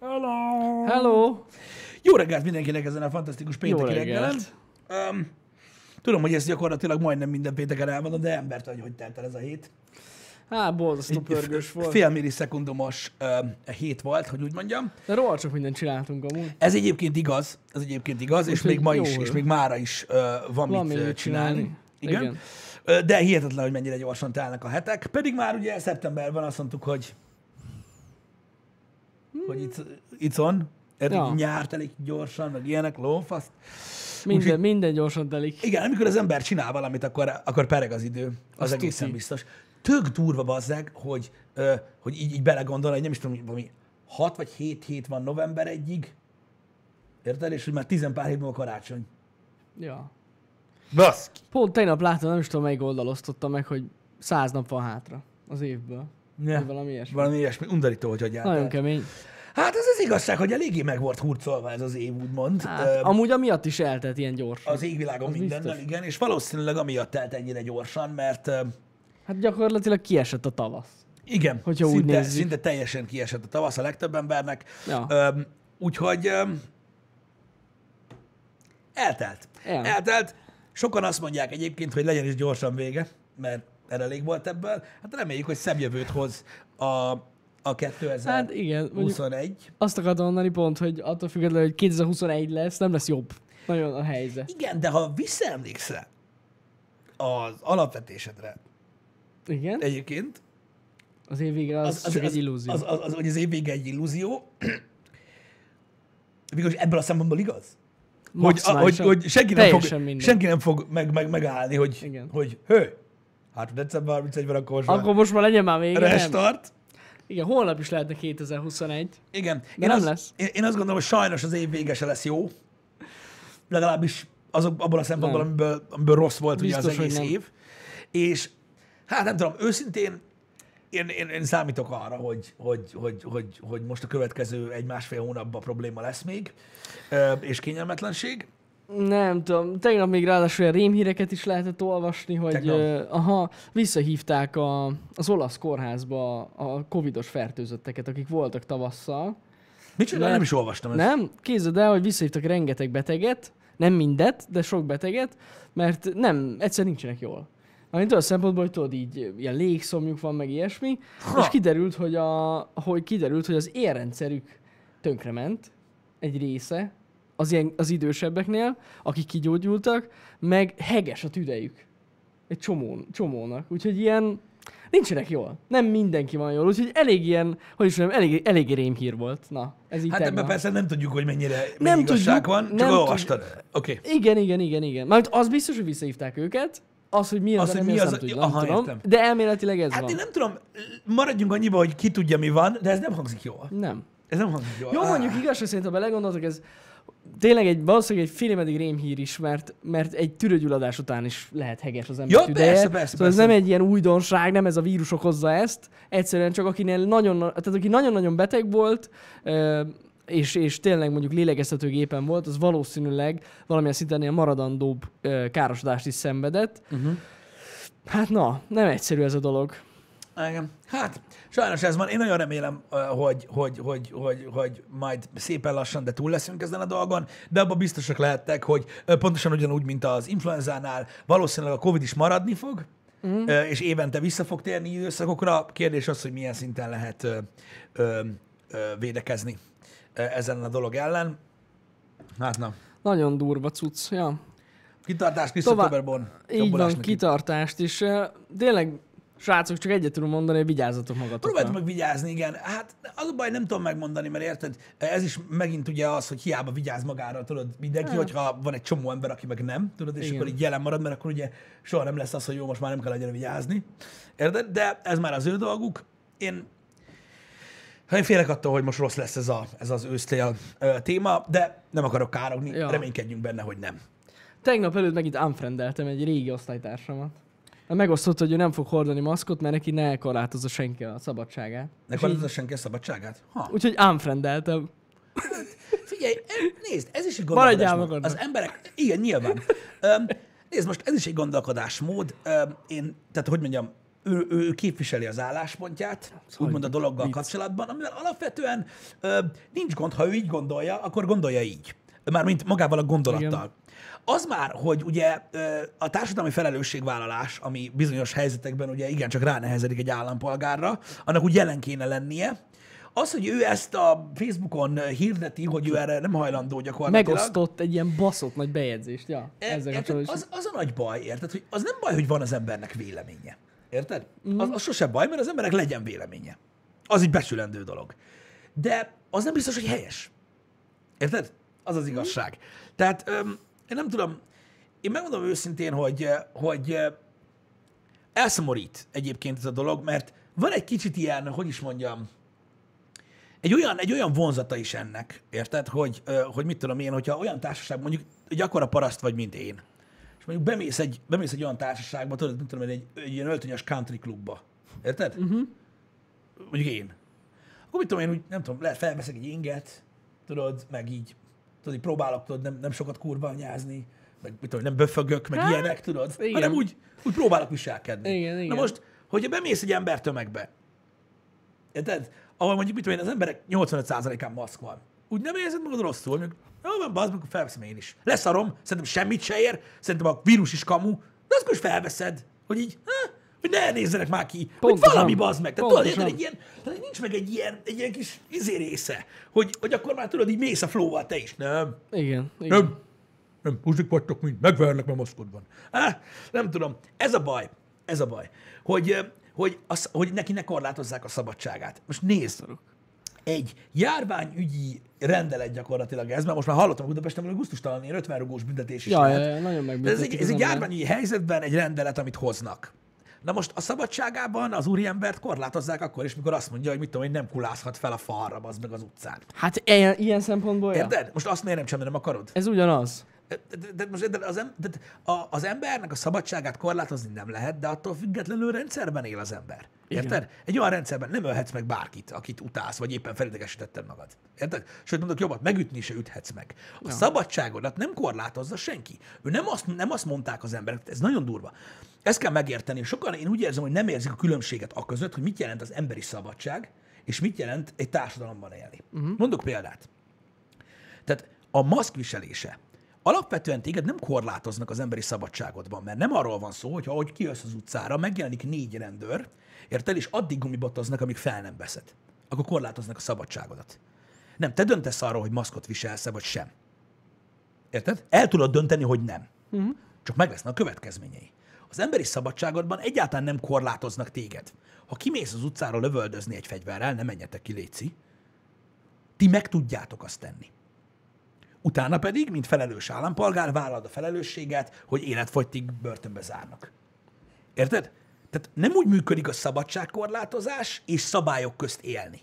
Hello! Hello! Jó reggelt mindenkinek ezen a fantasztikus pénteki reggelt. reggelen. Um, tudom, hogy ezt gyakorlatilag majdnem minden pénteken elmondom, de embert vagy, hogy telt el ez a hét. Á, Hát, borzasztó pörgős volt. Fél millisekundomos um, hét volt, hogy úgy mondjam. De rohadt sok mindent csináltunk amúgy. Ez egyébként igaz, ez egyébként igaz, és Úgyhogy még ma jó. is, és még mára is uh, van, Van mit mit uh, csinálni. csinálni. Igen. Igen. Igen. Ö, De hihetetlen, hogy mennyire gyorsan telnek a hetek. Pedig már ugye szeptemberben azt mondtuk, hogy hogy itt, itt van, Hmm. ja. Ja. nyár telik gyorsan, meg ilyenek, lófaszt. Minden, minden gyorsan telik. Igen, amikor az ember csinál valamit, akkor, akkor pereg az idő. Az Azt egészen tudni. biztos. Tök durva bazzeg, hogy, ö, hogy így, így belegondol, hogy nem is tudom, hogy valami 6 vagy 7 hét van november egyig. Érted? És hogy már 10 pár hét múlva karácsony. Ja. Baszki. Pont tegnap láttam, nem is tudom melyik oldal osztotta meg, hogy száz nap van hátra az évből. Ja. Vagy Valami ilyesmi. Valami ilyesmi, undorító, hogy hogy Nagyon állt. kemény. Hát ez az igazság, hogy eléggé meg volt hurcolva ez az év, úgymond. Hát, Ö, amúgy amiatt is eltelt ilyen gyorsan. az égvilágon az mindennel, biztos. igen, és valószínűleg amiatt telt ennyire gyorsan, mert ö, Hát gyakorlatilag kiesett a tavasz. igen, Hogyha úgy szinte, nézzük. szinte teljesen kiesett a tavasz a legtöbb embernek, Ja. Öm, úgyhogy öm, eltelt. El. Eltelt. Sokan azt mondják egyébként, hogy legyen is gyorsan vége, mert erre elég volt ebből. Hát reméljük, hogy szebb jövőt hoz a, a 2021. Hát igen, mondjuk azt akartam mondani pont, hogy attól függetlenül, hogy 2021 lesz, nem lesz jobb. Nagyon a helyzet. Igen, de ha visszaemlékszel az alapvetésedre Igen? egyébként, Az év vége az, az, az, egy illúzió. Az, az, az, hogy az év vége egy illúzió, Végülis ebből a szempontból igaz? Hogy, a, hogy, Maximálisan. hogy senki, nem Teljesen fog, mindegy. senki nem fog meg, meg, megállni, hogy, Igen. hogy hő, hát december 31-ben akkor most Akkor akkor most már legyen már vége, nem? restart. Igen, holnap is lehetne 2021. Igen. nem azt, lesz. Én, én azt gondolom, hogy sajnos az év vége se lesz jó. Legalábbis azok, abból a szempontból, Nem. amiből, amiből rossz volt ugye az Biztos, hogy egész nem. év. És hát nem tudom, őszintén én, én, én számítok arra, hogy, hogy, hogy, hogy, hogy most a következő egy-másfél hónapban probléma lesz még, ö, és kényelmetlenség. Nem tudom, tegnap még ráadásul ilyen rémhíreket is lehetett olvasni, hogy Tegnap? ö, aha, visszahívták a, az olasz kórházba a covidos fertőzötteket, akik voltak tavasszal. Micsoda? Nem. Nem is olvastam ezt. Nem? Képzeld el, hogy visszahívtak rengeteg beteget, nem mindet, de sok beteget, mert nem, egyszer nincsenek jól. Amint olyan szempontból, hogy tudod, így ilyen légszomjuk van, meg ilyesmi, Ha. ha. és kiderült, hogy, a, hogy kiderült, hogy az érrendszerük tönkrement, egy része, az, ilyen, az idősebbeknél, akik kigyógyultak, meg heges a tüdejük. Egy csomón, csomónak. Úgyhogy ilyen nincsenek jól. Nem mindenki van jól, úgyhogy elég ilyen, hogy is mondjam, elég, elég rémhír volt. Na, ez így Hát tegnap. ebben persze nem tudjuk, hogy mennyire nem Nem igazság tudjuk, van, csak nem olvastad. Oké. Okay. Igen, igen, igen, igen. Mármint az biztos, hogy visszahívták őket, az, hogy mi az, Az, az hogy nem, mi mi az, az- nem tudjuk, aha, nem tudom. értem. De elméletileg ez Hát van. én nem tudom, maradjunk annyiba, hogy ki tudja, mi van, de ez nem hangzik jól. Nem. Ez nem hangzik jól. Jó, Ah. mondjuk igaz, hogy szerintem ha belegondoltok, ez tényleg egy, valószínűleg egy félemedig rémhír is, mert, mert egy tüdőgyulladás után is lehet heges az ember Ja, tüdeje. persze, persze, szóval ez persze. nem egy ilyen újdonság, nem ez a vírus okozza ezt. Egyszerűen csak akinél nagyon, tehát aki nagyon-nagyon beteg volt, ö, és, és tényleg mondjuk lélegeztetőgépen volt, az valószínűleg valamilyen szinten ilyen maradandóbb ö, károsodást is szenvedett. Mhm. Hát na, nem egyszerű ez a dolog. Igen. Hát, sajnos ez van. Én nagyon remélem, ö, hogy, hogy, hogy, hogy, hogy majd szépen lassan, de túl leszünk ezen a dolgon, de abban biztosak lehettek, hogy ö, pontosan ugyanúgy, mint az influenzánál, valószínűleg a Covid is maradni fog, mm. és évente vissza fog térni időszakokra. Kérdés az, hogy milyen szinten lehet ö, ö, ö, védekezni ö, ezen a dolog ellen. Hát na. Nagyon durva cucc, ja. Kitartás Christopher Bon. Így van, kitartást is. Ö, Tényleg, srácok, csak egyet tudom mondani, hogy vigyázzatok magatokra. Próbálj meg vigyázni, igen. Hát az a baj, nem tudom megmondani, mert érted, ez is megint ugye az, hogy hiába vigyáz magára, tudod, mindenki, Hát. hogyha van egy csomó ember, aki meg nem, tudod, és Igen. akkor így jelen marad, mert akkor ugye soha nem lesz az, hogy jó, most már nem kell annyira vigyázni. Érted? De ez már az ő dolguk. Én én félek attól, hogy most rossz lesz ez, a, ez az ősztél ö, téma, de nem akarok károgni, ja. Ja. reménykedjünk benne, hogy nem. Tegnap előtt megint unfriendeltem egy régi osztálytársamat. Mert Megosztotta, hogy ő nem fog hordani maszkot, mert neki ne korlátozza senki a szabadságát. Ne És így- korlátozza senki a szabadságát? Ha. Úgyhogy unfriendeltem. Figyelj, e- nézd, ez is egy gondolkodásmód. magadnak. Az emberek, igen, nyilván. Öm, nézd, most ez is egy gondolkodásmód. Öm, én, tehát hogy mondjam, ő, ő képviseli az álláspontját, úgymond a dologgal kapcsolatban, amivel alapvetően ö, nincs gond, ha ő így gondolja, akkor gondolja így. Mármint magával a gondolattal. Igen. Az már, hogy ugye ö, a társadalmi felelősségvállalás, ami bizonyos helyzetekben ugye igencsak ránehezedik egy állampolgárra, annak úgy jelen kéne lennie. Az, hogy ő ezt a Facebookon hirdeti, hogy ő erre nem hajlandó gyakorlatilag. Megosztott egy ilyen baszott nagy bejegyzést, ja. E- Ezzel érted, kapcsolatban az, az a nagy baj, érted? Hogy az nem baj, hogy van az embernek véleménye. Érted? Mhm. Mm. Az, az sose baj, mert az embernek legyen véleménye. Az egy becsülendő dolog. De az nem biztos, hogy helyes. Érted? Az Mhm. az igazság. Tehát öm, én nem tudom, én megmondom őszintén, hogy, eh, hogy eh, elszomorít egyébként ez a dolog, mert van egy kicsit ilyen, hogy is mondjam, egy olyan, egy olyan vonzata is ennek, érted, hogy, ö, hogy mit tudom én, hogyha olyan társaság, mondjuk egy akkora paraszt vagy, mint én, és mondjuk bemész egy, bemész egy olyan társaságba, tudod, mit tudom én, egy, egy ilyen öltönyös country klubba, érted? Mhm. Uh-huh. Mondjuk én. Akkor mit tudom én, úgy, nem tudom, lehet felveszek egy inget, tudod, meg így, tudod, így próbálok, tudod, nem, nem sokat kurva anyázni, meg mit tudom, én, nem böfögök, meg Hát, ilyenek, tudod, igen. hanem úgy, úgy próbálok viselkedni. Igen, Na igen. most, hogyha bemész egy ember tömegbe, Érted? Ahol mondjuk, mit tudom én, az emberek 85%-án maszk van. Úgy nem érzed magad rosszul, mondjuk, jó van, bazd, meg, akkor felveszem én is. Leszarom, szerintem semmit se ér, szerintem a vírus is kamu, de azt most felveszed, hogy így, ha? hogy ne nézzenek már ki, hogy Pontosan. valami bazd meg. Tehát tudod, érted, Pontosan. egy ilyen, tehát nincs meg egy ilyen, egy ilyen kis izé része, hogy, hogy akkor már tudod, így mész a flow te is. Nem, Igen, igen. nem, nem, puzik vagytok mind, megvernek, mert maszkodban. Á, nem tudom, ez a baj, ez a baj, hogy, ö, hogy, az, hogy neki ne korlátozzák a szabadságát. Most nézd, egy járványügyi rendelet gyakorlatilag ez, mert most már hallottam Budapesten, hogy gusztustalan ilyen 50 rugós büntetés is Ja, lehet. ja, ja, nagyon De ez egy, ez megbüntetik az egy ember. járványi helyzetben egy rendelet, amit hoznak. Na most a szabadságában az úriembert korlátozzák akkor is, mikor azt mondja, hogy mit tudom, hogy nem kulázhat fel a falra, az meg az utcán. Hát ilyen, ilyen szempontból, ja. Érted? Most azt miért nem csinálni, nem akarod? Ez ugyanaz. De, de, de most érted, az, em, de, a, az embernek a szabadságát korlátozni nem lehet, de attól függetlenül rendszerben él az ember. Érted? Igen. Egy olyan rendszerben nem ölhetsz meg bárkit, akit utálsz, vagy éppen felidegesítetted magad. Érted? Sőt, mondok jobbat, megütni se üthetsz meg. A ja. szabadságodat nem korlátozza senki. Ő nem azt, nem azt mondták az emberek, ez nagyon durva. Ezt kell megérteni. Sokan én úgy érzem, hogy nem érzik a különbséget a között, hogy mit jelent az emberi szabadság, és mit jelent egy társadalomban élni. Uh-huh. Mondok példát. Tehát a maszk viselése. Alapvetően téged nem korlátoznak az emberi szabadságodban, mert nem arról van szó, hogy ahogy kijössz az utcára, megjelenik négy rendőr, érted, és addig gumibotoznak, amíg fel nem veszed. Akkor korlátoznak a szabadságodat. Nem, te döntesz arról, hogy maszkot viselsz vagy sem. Érted? El tudod dönteni, hogy nem. Uh-huh. Csak meg lesznek a következményei. Az emberi szabadságodban egyáltalán nem korlátoznak téged. Ha kimész az utcára lövöldözni egy fegyverrel, ne menjetek ki, Léci. Ti meg tudjátok azt tenni. Utána pedig, mint felelős állampolgár, vállald a felelősséget, hogy életfogytig börtönbe zárnak. Érted? Tehát nem úgy működik a szabadságkorlátozás és szabályok közt élni.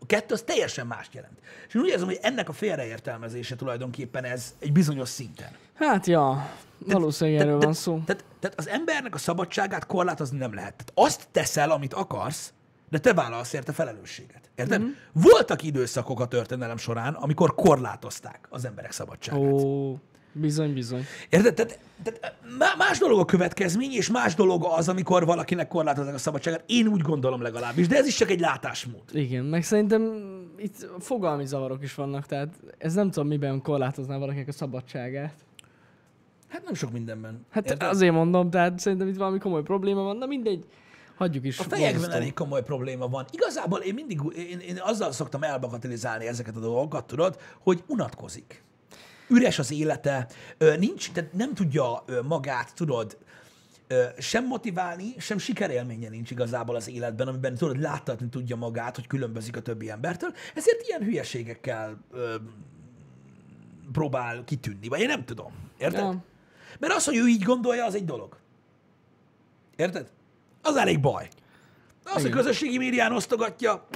A kettő az teljesen mást jelent. És én úgy érzem, hogy ennek a félreértelmezése tulajdonképpen ez egy bizonyos szinten. Hát, ja, valószínűleg erről van szó. Tehát, tehát az embernek a szabadságát korlátozni nem lehet. Tehát azt teszel, amit akarsz, de te vállalsz érte felelősséget. Érted? Mhm. Mm-hmm. Voltak időszakok a történelem során, amikor korlátozták az emberek szabadságát. Ó, bizony, bizony. Érted? Tehát, tehát má- más dolog a következmény, és más dolog az, amikor valakinek korlátozzák a szabadságát. Én úgy gondolom legalábbis, de ez is csak egy látásmód. Igen, meg szerintem itt fogalmi zavarok is vannak, tehát ez nem tudom, miben korlátozná valakinek a szabadságát. Hát nem sok mindenben. Hát Érted? Érde? azért mondom, tehát szerintem itt valami komoly probléma van, de mindegy, hagyjuk is. A fejekben borzasztó. elég komoly probléma van. Igazából én mindig én, én azzal szoktam elbagatilizálni ezeket a dolgokat, tudod, hogy unatkozik. Üres az élete, ö, nincs, tehát nem tudja ö, magát, tudod, ö, sem motiválni, sem sikerélménye nincs igazából az életben, amiben tudod, láttatni tudja magát, hogy különbözik a többi embertől, ezért ilyen hülyeségekkel ö, próbál kitűnni, vagy én nem tudom. Érted? Ja. Mert az, hogy ő így gondolja, az egy dolog. Érted? Az elég baj. Az, hogy Igen. közösségi médián osztogatja,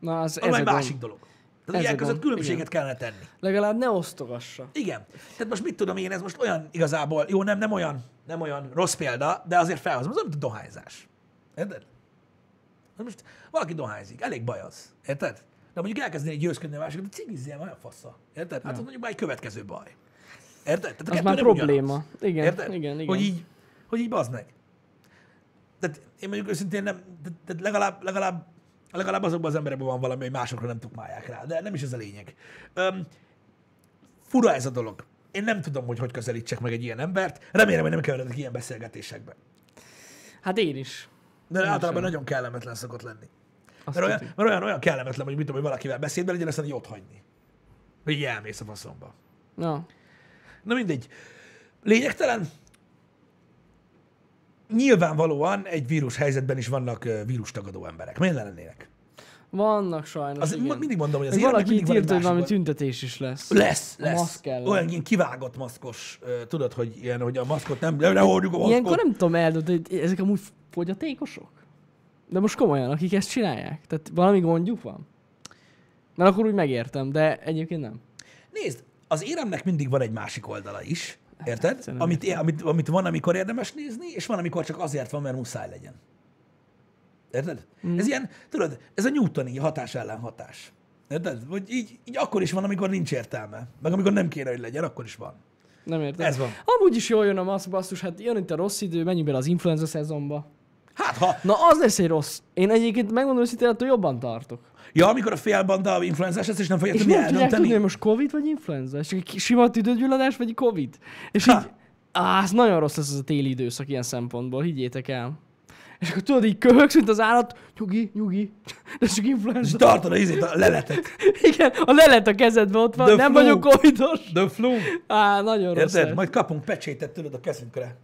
Na, az, az ez már a egy másik másik. dolog. Tehát Ez ilyen a között gond, különbséget kellene tenni. Legalább ne osztogassa. Igen. Tehát most mit tudom én, ez most olyan igazából, jó, nem, nem olyan, nem olyan rossz példa, de azért felhozom, az olyan, mint a dohányzás. Érted? Na Most valaki dohányzik, elég baj az. Érted? De mondjuk elkezdeni győzködni a másikat, hogy cigizzél, olyan fassa. Érted? Hát az mondjuk már egy következő baj. Érted? Tehát a Az kettő már nem probléma. ugyanaz. Igen, Érted? igen, igen. Hogy így, hogy így bazd meg. tehát én mondjuk őszintén nem, tehát- tehát legalább, legalább, legalább azokban az emberekben van valami, hogy másokra nem tukmálják rá, de nem is ez a lényeg. Öm, fura ez a dolog. Én nem tudom, hogy hogy közelítsek meg egy ilyen embert. Remélem, hogy nem keveredek ilyen beszélgetésekbe. Hát én is. De Én általában sem. nagyon kellemetlen szokott lenni. Azt Mert olyan, tudjuk. mert olyan, olyan kellemetlen, hogy mit tudom, hogy valakivel beszédben legyen, aztán így ott hagyni. Hogy így elmész a faszomba. Na, Na mindegy. Lényegtelen. Nyilvánvalóan egy vírus helyzetben is vannak ö, vírustagadó emberek. Miért ne lennének? vannak sajnos, Az, igen. mindig mondom, hogy az Meg életnek valaki mindig itt van egy írta, hogy valami másik- tüntetés is lesz. Lesz, A lesz. maszk ellen. Olyan ilyen kivágott maszkos, ö, tudod, hogy ilyen, hogy a maszkot nem, nem, nem hordjuk a maszkot. Ilyenkor nem tudom eldönteni, hogy ezek amúgy fogyatékosok. De most komolyan, akik ezt csinálják. Tehát valami gondjuk van. Mert akkor úgy megértem, de egyébként nem. Nézd, az éremnek mindig van egy másik oldala is, Hát, érted? egyszerűen Amit, é- amit, amit van, amikor érdemes nézni, és van, amikor csak azért van, mert muszáj legyen. Érted? Mm. Mhm. Ez ilyen, tudod, ez a newtoni hatás ellen hatás. Érted? Vagy így, így akkor is van, amikor nincs értelme. Meg amikor nem kéne, hogy legyen, akkor is van. Nem értem. Ez van. Amúgy is jól jön a maszk, basszus, hát jön itt a rossz idő, menjünk bele az influenza szezonba. Hát ha, Na az lesz egy rossz. Én egyébként megmondom őszintén, attól jobban tartok. ja, amikor a félbanda influenzás lesz, és nem fogja És tudni nem tudják eldönteni. tudni, hogy most Covid vagy influenza? És csak egy sima tüdőgyulladás vagy Covid? És így, á, ez nagyon rossz lesz ez a téli időszak ilyen szempontból, higgyétek el. És akkor tudod, így köhögsz, mint az állat, nyugi, nyugi, de csak És influenza. tartod a izét, a leletet. Igen, a lelet a kezedben ott van, The nem flu. vagyok covidos. The flu. Á, nagyon rossz Érted? lesz. Majd kapunk pecsétet, tudod, a kezünkre.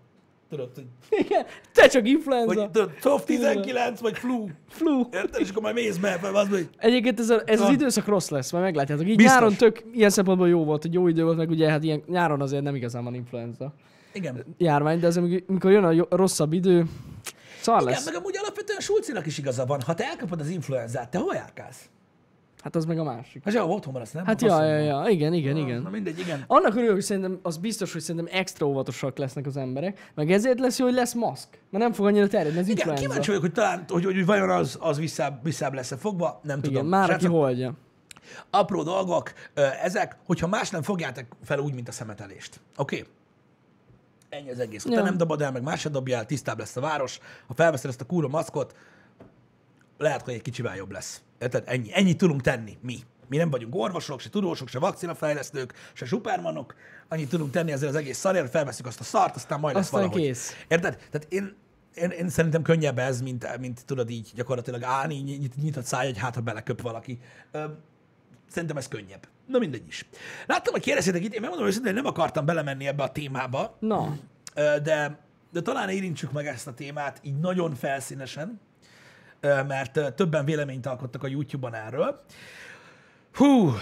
Tudod, hogy, Igen, te csak influenza, hogy tudod, TOV 19 vagy flu. flu. Érted? És akkor majd mész be, mert az, hogy Egyébként ez, a, ez az Van. időszak rossz lesz, majd meglátjátok. Így Biztos. nyáron tök ilyen szempontból jó volt, hogy jó idő volt, meg ugye hát ilyen nyáron azért nem igazán van influenza Igen. járvány, de azért mikor jön a jó- a rosszabb idő, szar Igen, lesz. meg amúgy alapvetően Sulcinak is igaza van. Ha te elkapod az influenzát, te hol járkálsz? Hát az meg a másik. Hát jó, otthon maradsz, nem? Hát A ja, faszomban. ja, ja, igen, igen, Na igen. mindegy, igen. Annak örülök, hogy szerintem az biztos, hogy szerintem extra óvatosak lesznek az emberek, meg ezért lesz jó, hogy lesz maszk, mert nem fog annyira terjedni az Igen, influenza. kíváncsi vagyok, hogy talán, hogy, hogy, hogy vajon az, az visszább, visszább lesz-e fogva, nem tudom. igen, már aki Srácok, holdja. apró dolgok ö, ezek, hogyha más nem fogjátok fel úgy, mint a szemetelést. Oké? Okay? Ennyi az egész. Utána Ja. nem dobod el, meg más se dobja el, tisztább lesz a város. Ha felveszed ezt a kúra maszkot, lehet, hogy egy kicsivel jobb lesz. Érted? Ennyi. Ennyit tudunk tenni. Mi. Mi nem vagyunk orvosok, se tudósok, se vakcinafejlesztők, se supermanok. Annyit tudunk tenni ezzel az egész szarért, felveszünk azt a szart, aztán majd lesz Aztán valahogy. kész. Érted? Tehát én, én, én szerintem könnyebb ez, mint, mint tudod így gyakorlatilag állni, ny- nyit- nyitott száj, hogy hát, ha beleköp valaki. Ö, Szerintem ez könnyebb. Na mindegy is. Láttam, hogy kérdeztétek itt, én megmondom őszintén, hogy nem akartam belemenni ebbe a témába, Na, ö, de, de talán érintsük meg ezt a témát így nagyon felszínesen, ö, mert ö, többen véleményt alkottak a YouTube-on erről. Hú,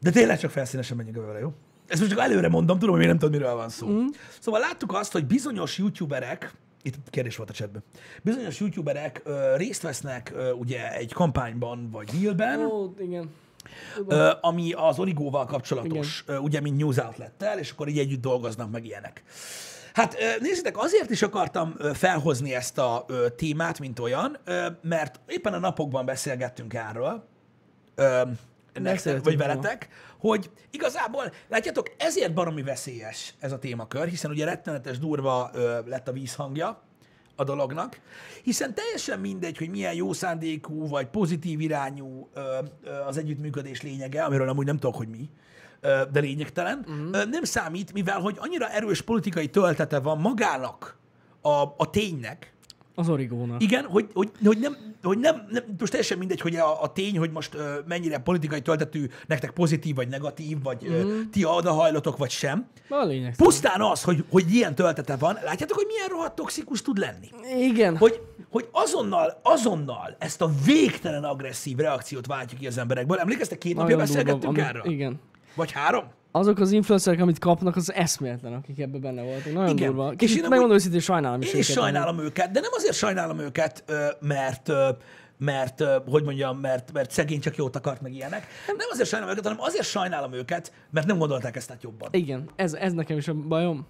de tényleg csak felszínesen menjünk vele, jó? Ezt most csak előre mondom, tudom, hogy még nem tudod, miről van szó. Mm. Szóval láttuk azt, hogy bizonyos youtuberek, itt kérdés volt a csetben, bizonyos youtuberek ö, részt vesznek ö, ugye egy kampányban vagy dealben, ó, igen. Ö, ami az origóval kapcsolatos, ö, ugye, mint news outlettel, és akkor így együtt dolgoznak meg ilyenek. Hát ö, nézzétek, azért is akartam ö, felhozni ezt a ö, témát, mint olyan, ö, mert éppen a napokban beszélgettünk erről, ö, nektek, Beszéltünk vagy róla. veletek, hogy igazából, látjátok, ezért baromi veszélyes ez a témakör, hiszen ugye rettenetes durva ö, lett a vízhangja a dolognak, hiszen teljesen mindegy, hogy milyen jó szándékú vagy pozitív irányú ö, ö, az együttműködés lényege, amiről amúgy nem tudok, hogy mi, ö, de lényegtelen, ö, nem számít, mivel hogy annyira erős politikai töltete van magának a, a ténynek, Az origónak. igen, hogy, hogy, hogy, nem, hogy nem, nem, most teljesen mindegy, hogy a, a tény, hogy most ö, mennyire politikai töltetű, nektek pozitív vagy negatív, vagy ö, Mhm. ti odahajlotok, vagy sem. Na, a lényeg. Pusztán az, hogy, hogy ilyen töltete van, látjátok, hogy milyen rohadt toxikus tud lenni. Igen. Hogy, hogy azonnal, azonnal ezt a végtelen agresszív reakciót váltjuk ki az emberekből. Emlékeztek, két napja Nagyon durva, beszélgettünk ami- erről? Igen. Vagy három? azok az influencerek, amit kapnak, az eszméletlen, akik ebbe benne voltak. Nagyon Igen. Igen. durva. És Kicsit én amúgy- megmondom őszintén, sajnálom is Én is őket, sajnálom őket, de nem azért sajnálom őket, ö, mert ö, mert, ö, hogy mondjam, mert, mert szegény csak jót akart meg ilyenek. Nem azért sajnálom őket, hanem azért sajnálom őket, mert nem gondolták ezt át jobban. amúgy. Igen, ez, ez nekem is a bajom.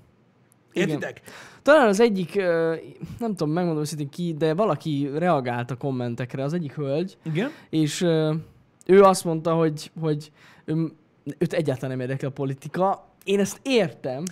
igen. Értitek? Talán az egyik, ö, nem tudom, megmondom őszintén ki, de valaki reagált a kommentekre, az egyik hölgy, Igen. és ö, ő azt mondta, hogy, hogy ő, őt egyáltalán nem érdekel a politika. Én ezt értem,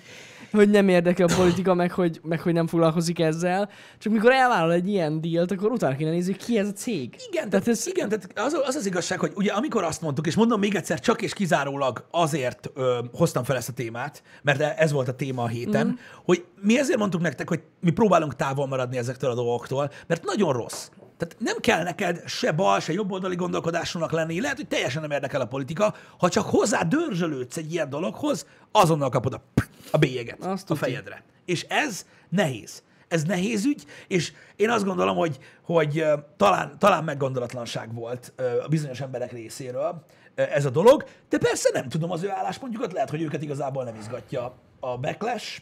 hogy nem érdekel a politika, meg hogy, meg hogy nem foglalkozik ezzel. Csak mikor elvállal egy ilyen díjat, akkor utána kéne nézni, hogy ki ez a cég. Igen, tehát, ez... igen, tehát az, az az igazság, hogy ugye amikor azt mondtuk, és mondom még egyszer, csak és kizárólag azért ö, hoztam fel ezt a témát, mert ez volt a téma a héten, mm. hogy mi ezért mondtuk nektek, hogy mi próbálunk távol maradni ezektől a dolgoktól, mert nagyon rossz. Tehát nem kell neked se bal, se jobboldali gondolkodásúnak lenni. Lehet, hogy teljesen nem érdekel a politika, ha csak hozzá dörzsölődsz egy ilyen dologhoz, azonnal kapod a, a bélyeget Azt Azt a tuti. fejedre. És ez nehéz. Ez nehéz ügy, és én azt gondolom, hogy, hogy ö, talán, talán meggondolatlanság volt ö, a bizonyos emberek részéről ö, ez a dolog, de persze nem tudom az ő álláspontjukat, lehet, hogy őket igazából nem izgatja a backlash,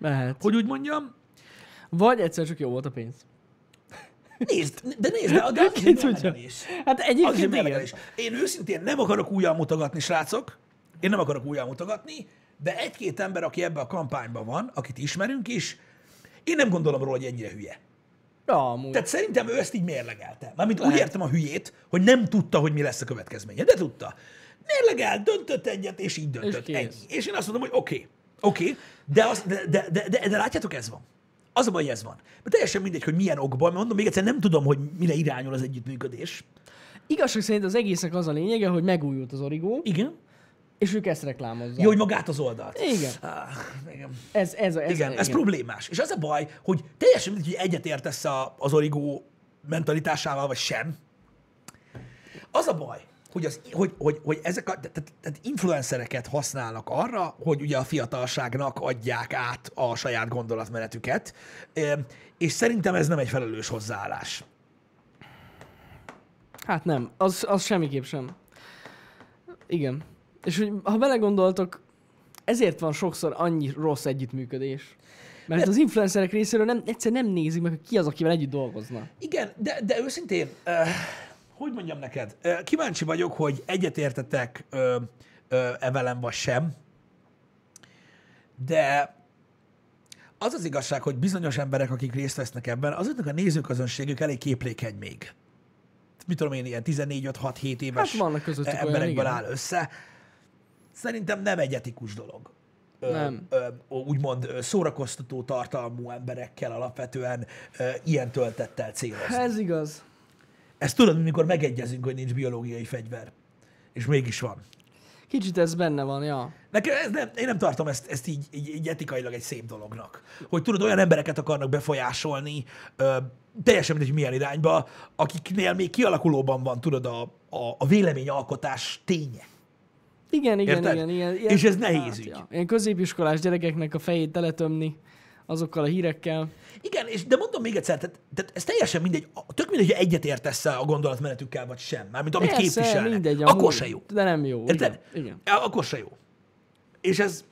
Lehet. hogy úgy mondjam. Vagy egyszer csak jó volt a pénz. Nézd, de nézd, de, de az Ki egy tudja. mérlegelés. Hát Az egy egyébként igen. mérlegelés. Én őszintén nem akarok újjal mutogatni, srácok. Én nem akarok újjal mutogatni, de egy-két ember, aki ebbe a kampányban van, akit ismerünk is, én nem gondolom róla, hogy ennyire hülye. Ja, amúgy. Tehát szerintem ő ezt így mérlegelte. Mármint úgy Hm. Lehet. értem a hülyét, hogy nem tudta, hogy mi lesz a következménye, de tudta. Mérlegel, döntött egyet, és így döntött. kész. És, Ennyi. és én azt mondom, hogy oké, okay, oké, okay, de, az- de, de, de, de, de látjátok, ez van. Az a baj, hogy ez van. Mert teljesen mindegy, hogy milyen okból, mert mondom, még egyszer nem tudom, hogy mire irányul az együttműködés. Igazság szerint az egésznek az a lényege, hogy megújult az origó, Igen. és ők ezt reklámozzák. Jó, hogy magát az oldalt. Igen. Ah, igen. Ez, ez, a- ez, Igen, ez problémás. És az a baj, hogy teljesen mindegy, hogy egyet értesz a, az origó mentalitásával, vagy sem. Az a baj, hogy, az, hogy, hogy, hogy ezek a tehát, tehát influencereket használnak arra, hogy ugye a fiatalságnak adják át a saját gondolatmenetüket, Ém, és szerintem ez nem egy felelős hozzáállás. Hát nem, az, az semmiképp sem. Igen. És hogy, ha belegondoltok, ezért van sokszor annyi rossz együttműködés. Mert az influencerek részéről nem, egyszer nem nézik meg, hogy ki az, akivel együtt dolgozna. Igen, de, de őszintén, uh, hogy mondjam neked, uh, kíváncsi vagyok, hogy egyetértetek uh, uh, evelem vagy sem, de az az igazság, hogy bizonyos emberek, akik részt vesznek ebben, azoknak a nézőközönségük elég képlékeny még. Mit tudom én, ilyen 14-5-6-7 éves e, Hát vannak közöttük olyan, emberekből igen. áll össze. Szerintem nem egy etikus dolog. Ö, Nem. Ö, úgymond ö, szórakoztató tartalmú emberekkel alapvetően ö, ilyen töltettel célozni. Ez igaz. Ezt tudod, mikor megegyezünk, hogy nincs biológiai fegyver. És mégis van. Kicsit ez benne van, ja. Nekem ez nem, én nem tartom ezt, ezt így, így, így etikailag egy szép dolognak. Hogy tudod, olyan embereket akarnak befolyásolni, ö, teljesen mindegy, hogy milyen irányba, akiknél még kialakulóban van, tudod, a, a, a véleményalkotás ténye. Igen, igen, Érted? igen, igen. És ez nehéz ügy. Ilyen középiskolás gyerekeknek a fejét teletömni azokkal a hírekkel. Igen, és de mondom még egyszer, tehát, tehát ez teljesen mindegy, a- tök mindegy, hogy egyetértesz a gondolatmenetükkel, vagy sem, mármint amit Persze, képviselnek. mindegy, Akkor amúgy. se jó. De nem jó. Érted? Igen. igen. Ja, akkor se jó. És ez,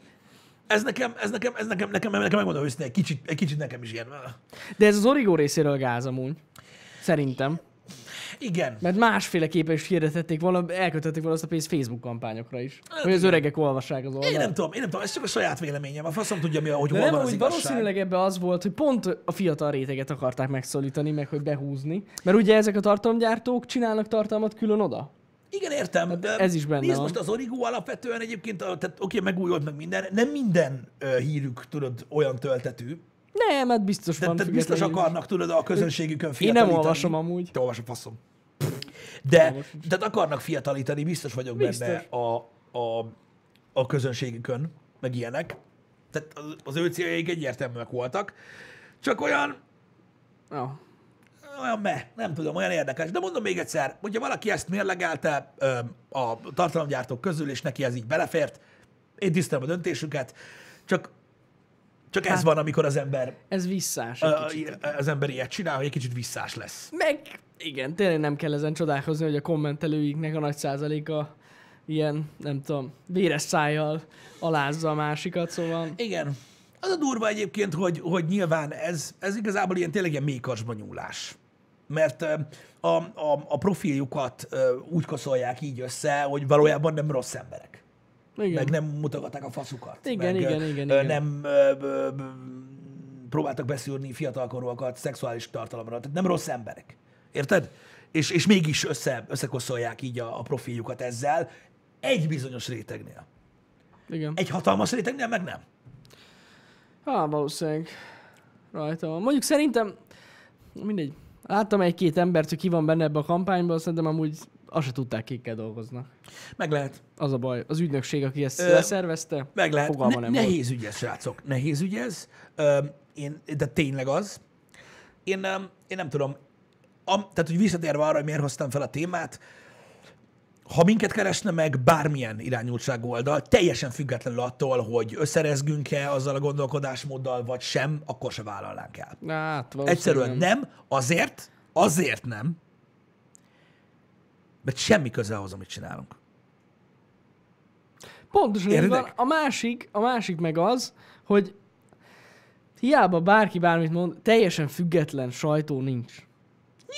ez nekem, ez nekem, ez nekem, nekem, nekem megmondom őszintén, egy kicsit, egy kicsit nekem is ilyen. ah. De ez az origó részéről gáz amúgy. Szerintem. Igen. Mert másféleképpen is hirdetették volna, elkötötték volna azt a pénzt Facebook kampányokra is. Hát hogy az igen. öregek olvassák az Én oldalt. nem tudom, én nem tudom, ez csak a saját véleményem. A faszom tudja, mi, hogy De hol nem, van az úgy igazság. valószínűleg ebbe az volt, hogy pont a fiatal réteget akarták megszólítani, meg hogy behúzni. Mert ugye ezek a tartalomgyártók csinálnak tartalmat külön oda. Igen, értem. De ez is benne nézd, van. most az Origo alapvetően egyébként, a, tehát oké, megújult meg minden, nem minden uh, hírük, tudod, olyan töltetű. Nem, hát biztos Tehát, van tehát biztos független- akarnak, tudod, a közönségükön Én nem fiatalítani. olvasom amúgy. Te olvasom, faszom. De, Olvasom. tehát akarnak fiatalítani, biztos vagyok Biztos. benne a, a, a közönségükön, meg ilyenek. Tehát az, az ő céljaik egyértelműek voltak. Csak olyan, Ja. olyan me, nem tudom, olyan érdekes. De mondom még egyszer, hogyha valaki ezt mérlegelte ö, a tartalomgyártók közül, és neki ez így belefért, én tisztelem a döntésüket, csak, csak Hát- ez van, amikor az ember, Ez visszás. egy ö, kicsit. az ember ilyet csinál, hogy egy kicsit visszás lesz. Meg igen, tényleg nem kell ezen csodálkozni, hogy a kommentelőiknek a nagy százaléka ilyen, nem tudom, véres szájjal alázza a másikat, szóval... Igen. Az a durva egyébként, hogy, hogy nyilván ez, ez igazából ilyen tényleg ilyen mélykacsba nyúlás. Mert ö, a, a, a profiljukat ö, úgy koszolják így össze, hogy valójában nem rossz emberek. Igen. Meg nem mutogatták a faszukat. Igen, meg, igen, ö, igen, ö, igen. Nem ö, ö, ö, próbáltak beszűrni fiatalkorúakat szexuális tartalomra. Tehát nem rossz emberek. Érted? És, és mégis össze, összekoszolják így a, a profiljukat ezzel egy bizonyos rétegnél. Igen. Egy hatalmas rétegnél meg nem. Hát valószínűleg rajta van. Mondjuk szerintem, mindegy, láttam egy-két embert, hogy ki van benne ebbe a kampányban, szerintem amúgy azt se tudták, kikkel dolgoznak. Meg lehet. Az a baj. Az ügynökség, aki ezt Ö, leszervezte, Meg lehet. Fogalma Ne, nem volt. nehéz ügy ez, srácok. Nehéz ügy ez. Ö, én, de tényleg az. Én, nem- én nem tudom. Am, tehát, hogy visszatérve arra, hogy miért hoztam fel a témát, ha minket keresne meg bármilyen irányultságú oldal, teljesen függetlenül attól, hogy összerezgünk-e azzal a gondolkodásmóddal, vagy sem, akkor se vállalnánk el. hát valószínűleg Egyszerűen nem. nem. Azért, azért nem, mert semmi köze ahhoz, amit csinálunk. Pontosan így Értitek? van. A másik, a másik meg az, hogy hiába bárki bármit mond, teljesen független sajtó nincs.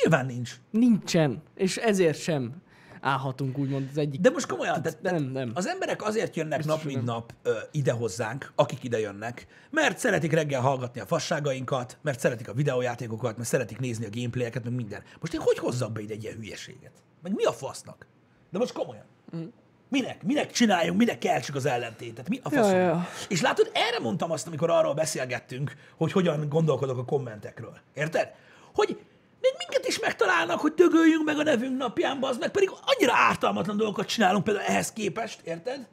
Nyilván nincs. Nincsen. És ezért sem állhatunk úgymond az egyik. De most komolyan, tehát, nem, nem. az emberek azért jönnek Biztos nap mint nap ö, ide hozzánk, akik ide jönnek, mert szeretik reggel hallgatni a fasságainkat, mert szeretik a videójátékokat, mert szeretik nézni a gameplayeket, meg minden. Most én hogy hozzak be ide egy ilyen hülyeséget? Meg mi a fasznak? De most komolyan. Mm. Minek? Minek csináljunk? Minek keltsük az ellentétet? Mi a faszom? Ja, ja. És látod, erre mondtam azt, amikor arról beszélgettünk, hogy hogyan gondolkodok a kommentekről. Érted? Hogy még minket is megtalálnak, hogy dögöljünk meg a nevünk napján, az meg pedig annyira ártalmatlan dolgokat csinálunk például ehhez képest, érted?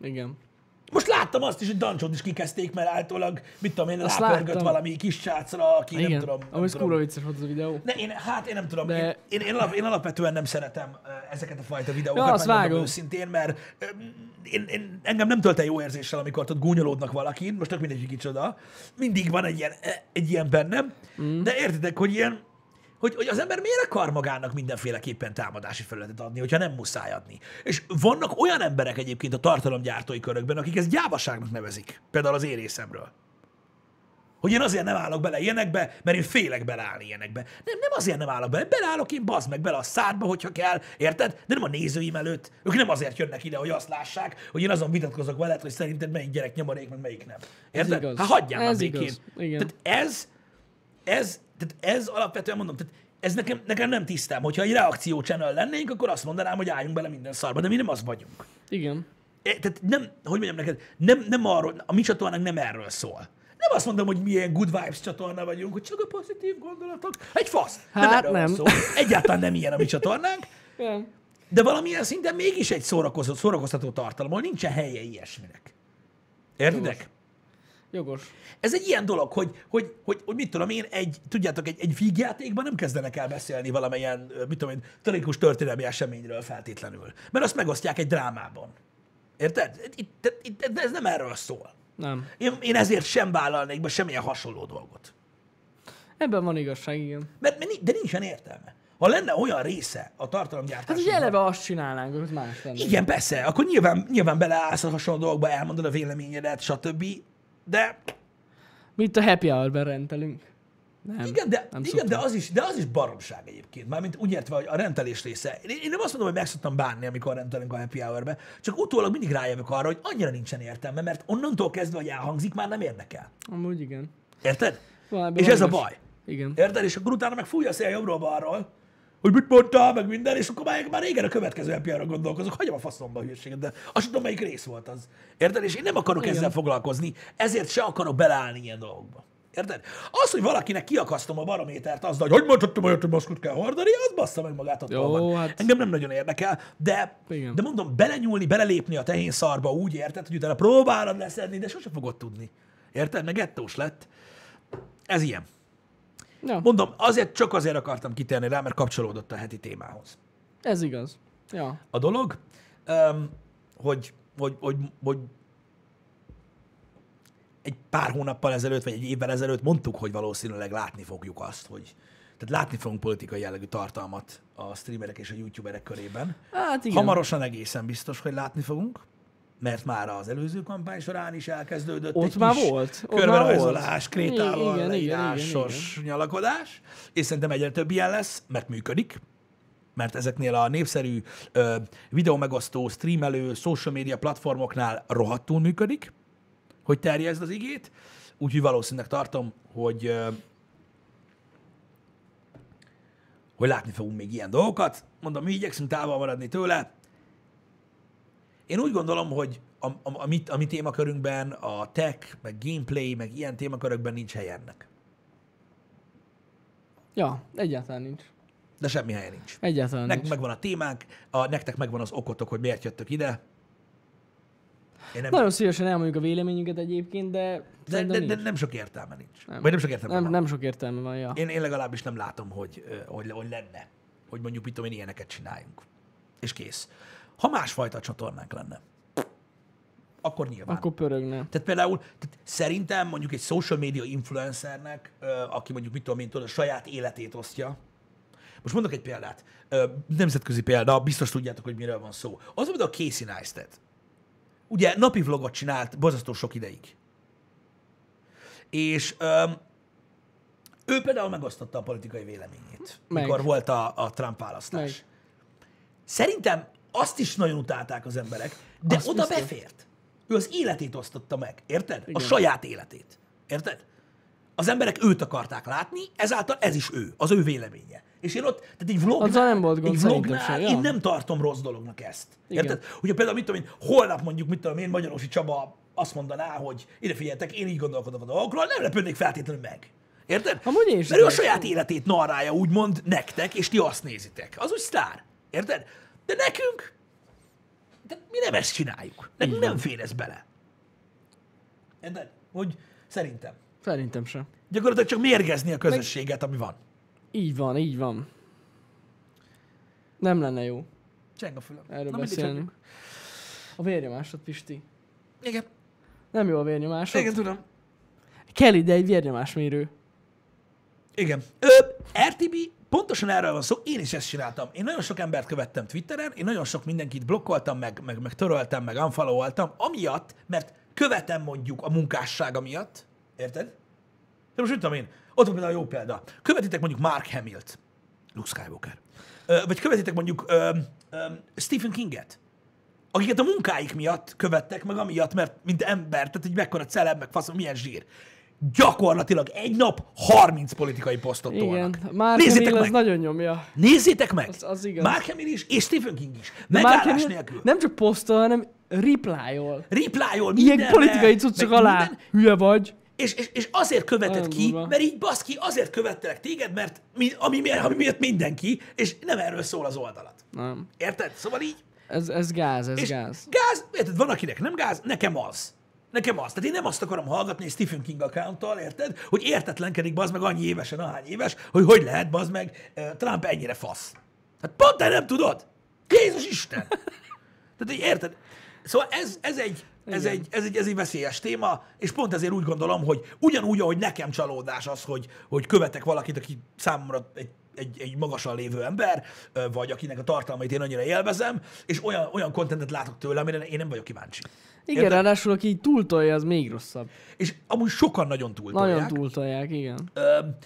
Igen. Most láttam azt is, hogy Dancsot is kikezdték, mert általában, mit tudom én, Azt rápörgött láttam. valami kis srácra, aki Igen. nem tudom. Nem Amúgy ez tudom. kurva vicces volt az a videó. Ne, én, hát én nem tudom, De- én, én, én, alap, én alapvetően nem szeretem ö, ezeket a fajta videókat, Ja, azt megmondom vágom. őszintén, mert ö, én, én, engem nem tölt el jó érzéssel, amikor ott gúnyolódnak valakin, most tök mindegy, hogy kicsoda, mindig van egy ilyen, e, egy ilyen bennem, mm. de értitek, hogy ilyen, hogy, hogy az ember miért akar magának mindenféleképpen támadási felületet adni, hogyha nem muszáj adni. És vannak olyan emberek egyébként a tartalomgyártói körökben, akik ezt gyávaságnak nevezik, például az én részemről. Hogy én azért nem állok bele ilyenekbe, mert én félek beleállni ilyenekbe. Nem, nem azért nem állok bele, beleállok én bazd meg bele a szádba, hogyha kell, érted? De nem a nézőim előtt. Ők nem azért jönnek ide, hogy azt lássák, hogy én azon vitatkozok veled, hogy szerinted melyik gyerek nyomorék, meg melyik nem. Érted? igaz. Hát hagyjál már Ez békén. igaz. Igen. Tehát ez, ez, tehát ez alapvetően mondom, tehát ez nekem, nekem nem tisztám. Hogyha egy reakció channel lennénk, akkor azt mondanám, hogy álljunk bele minden szarba, de mi nem az vagyunk. Igen. É, E, tehát nem, hogy mondjam neked, nem, nem arról, a mi csatornánk nem erről szól. Nem azt mondom, hogy milyen good vibes csatorna vagyunk, hogy csak a pozitív gondolatok. Egy fasz! Nem Hát erről van nem. szó. Egyáltalán nem ilyen a mi csatornánk, Igen. de valamilyen szinten mégis egy szórakozó, szórakoztató tartalom, ahol nincsen helye ilyesminek. Értitek? Jogos. Jogos. Ez egy ilyen dolog, hogy, hogy, hogy, hogy mit tudom én, egy, tudjátok, egy, egy vígjátékban nem kezdenek el beszélni valamilyen, ö, mit tudom én, tragikus történelmi eseményről feltétlenül. Mert azt megosztják egy drámában. Érted? Itt, itt, itt, ez nem erről szól. Nem. Én, én ezért sem vállalnék be semmilyen hasonló dolgot. Ebben van igazság, igen. Mert, mert ni- de nincsen értelme. Ha lenne olyan része a Hát tartalomgyártásnak, ugye eleve azt csinálnánk, hogy más lenne. igen, persze, akkor nyilván, nyilván beleállsz a hasonló dolgokba, elmondod a véleményedet, stb. De Mint a happy hour-ben rendelünk. Nem. Igen, de, nem igen szoktam. de, az is, de az is baromság egyébként. Mármint úgy értve, hogy a rendelés része. Én, én nem azt mondom, hogy meg szoktam bánni, amikor rendelünk a happy hour-be, csak utólag mindig rájövök arra, hogy annyira nincsen értelme, mert onnantól kezdve, hogy elhangzik, már nem érdekel. Amúgy igen. Érted? Van, ebben és van ez a igaz- baj. Igen. Érted? És akkor utána meg fújja a szél jobbról-balról, hogy mit mondtál, meg minden, és akkor már, már régen a következő happy hour gondolkozok, hagyom a faszomba a hülyeséget, de azt tudom, melyik rész volt az. Érted? És én nem akarok Igen. ezzel foglalkozni, ezért se akarok beleállni ilyen dolgokba. Érted? Az, hogy valakinek kiakasztom a barométert azzal, hogy hogy mondhattam olyat, hogy maszkot kell hordani, az bassza meg magát attól Jó, van. hát- Engem nem nagyon érdekel, de, Igen. de mondom, belenyúlni, belelépni a tehén szarba úgy érted, hogy utána próbálod leszedni, de sose fogod tudni. Érted? Meg ettós lett. Ez ilyen. Ja, Mondom, azért csak azért akartam kitérni rá, mert kapcsolódott a heti témához. ez igaz. Ja. A dolog, öm, hogy, hogy, hogy, hogy egy pár hónappal ezelőtt, vagy egy évvel ezelőtt mondtuk, hogy valószínűleg látni fogjuk azt, hogy tehát látni fogunk politikai jellegű tartalmat a streamerek és a youtuberek körében. Hát igen. Igen. Hamarosan egészen biztos, hogy látni fogunk, mert már az előző kampány során is elkezdődött Ott egy már kis volt, ott már körberajzolás, volt. krétával, igen, Igen, igen, igen, leírásos igen, igen, nyalakodás, és szerintem egyre több ilyen lesz, mert működik, mert ezeknél a népszerű ö, videómegosztó, streamelő, social media platformoknál rohadtul működik, hogy terjezd az igét, úgyhogy valószínűleg tartom, hogy ö, hogy látni fogunk még ilyen dolgokat. Mondom, mi igyekszünk távol maradni tőle. Én úgy gondolom, hogy a, a, a, mi, a mi témakörünkben, a tech, meg gameplay, meg ilyen témakörökben nincs hely ennek. Ja, egyáltalán nincs. De semmi helye nincs. Egyáltalán Nekünk nincs. megvan a témánk, a, nektek megvan az okotok, hogy miért jöttök ide. Én nem, Nagyon szívesen elmondjuk a véleményünket egyébként, de, de, de, de nincs. nem sok értelme nincs. Nem. Nem. Vagy nem sok értelme nem, van. nem sok értelme van, ja. Én, én legalábbis nem látom, hogy, ö, hogy, hogy lenne, hogy mondjuk mit tudom én, ilyeneket csináljunk. És kész. Ha másfajta csatornánk lenne, akkor nyilván. Akkor... Akkor pörögne. Tehát például tehát szerintem mondjuk egy social media influencernek, ö, aki mondjuk mit tudom én, tudod, a saját életét osztja, most mondok egy példát. Ö, Nemzetközi példa, biztos tudjátok, hogy miről van szó. Az, amit a Casey Neistat. Ugye napi vlogot csinált borzasztó sok ideig. És öm, ő például megosztotta a politikai véleményét, Meg. mikor volt a, a Trump választás. Meg. Szerintem azt is nagyon utálták az emberek, de Azt azt oda biztos. befért. Ő az életét osztotta meg, érted? Igen. A saját életét. Érted? Az emberek őt akarták látni, ezáltal ez is ő, az ő véleménye. És én ott, tehát egy Azzal vlognál, nem volt gond egy szerintem vlognál se, ja. én nem tartom rossz dolognak ezt. Igen. Érted? Ugye például, mit tudom én, holnap mondjuk, mit tudom én, Magyarorsi Csaba azt mondaná, hogy ide figyeltek, én így gondolkodok a dolgokról, nem lepődnék feltétlenül meg. Érted? Amúgy én is Mert ő a igen. saját életét narrálja, úgymond, nektek, és ti azt nézitek. Az úgy sztár. Érted? De nekünk, de mi nem ezt csináljuk. Nekünk nem fér ez bele. Érted? Hogy szerintem. Szerintem sem. Gyakorlatilag csak mérgezni a közösséget, ami van. Így van, így van. Nem lenne jó Cseng a fülem. erről Na, mindig beszélni. A vérnyomásod, Pisti. csak- Igen, Nem jó a vérnyomásod. igen, tudom. Kell ide egy vérnyomásmérő. Igen. Ö, RTB, pontosan erről van szó, én is ezt csináltam. Én nagyon sok embert követtem Twitteren, én nagyon sok mindenkit blokkoltam, meg, meg, meg töröltem, meg unfollowoltam, amiatt, mert követem mondjuk a munkássága miatt, érted? De most mit tudom én, ott van például a jó példa. Követitek mondjuk Mark Hamill-t, Luke Skywalker. Ö, vagy követitek mondjuk ö, ö, Stephen Kinget, akiket a munkáik miatt követtek, meg amiatt, mert mint ember, tehát hogy mekkora celeb, meg faszom, milyen zsír. Gyakorlatilag egy nap 30 politikai posztot Igen. tolnak. Már Nézzétek Hamill az meg! nagyon nyomja. Nézzétek meg! Az- az igaz. Mark Hamill is, és Stephen King is. De Mark Megállás Hamill nélkül. Nem csak posztol, hanem replyol. Replyol Ilyen mindenre, politikai cuccok meg alá. minden, Hülye vagy. és, és, és azért követett Nagyon ki, durva. mert így basz ki, azért követtelek téged, mert mi, ami, miatt, ami miatt mindenki, és nem erről szól az oldalat. Nem. Érted? Szóval így, Ez, ez gáz, ez és gáz. Gáz, érted, van akinek nem gáz, nekem az. Nekem az. Tehát én nem azt akarom hallgatni egy Stephen King accounttal, érted? Hogy értetlenkedik bazd meg annyi évesen, ahány éves, hogy hogy lehet bazd meg ö, Trump ennyire fasz. Hát pont te nem tudod! Jézus Isten! Tehát így érted? Szóval ez, ez, egy, ez, egy, ez, egy, ez egy veszélyes téma, és pont ezért úgy gondolom, hogy ugyanúgy, ahogy nekem csalódás az, hogy, hogy követek valakit, aki számomra egy, egy, egy magasan lévő ember, ö, vagy akinek a tartalmait én annyira élvezem, és olyan, olyan kontentet látok tőle, amire én nem vagyok kíváncsi. Igen, ráadásul aki így túltolja, az még rosszabb. És amúgy sokan nagyon túltolják. Nagyon túltolják, igen. Öm,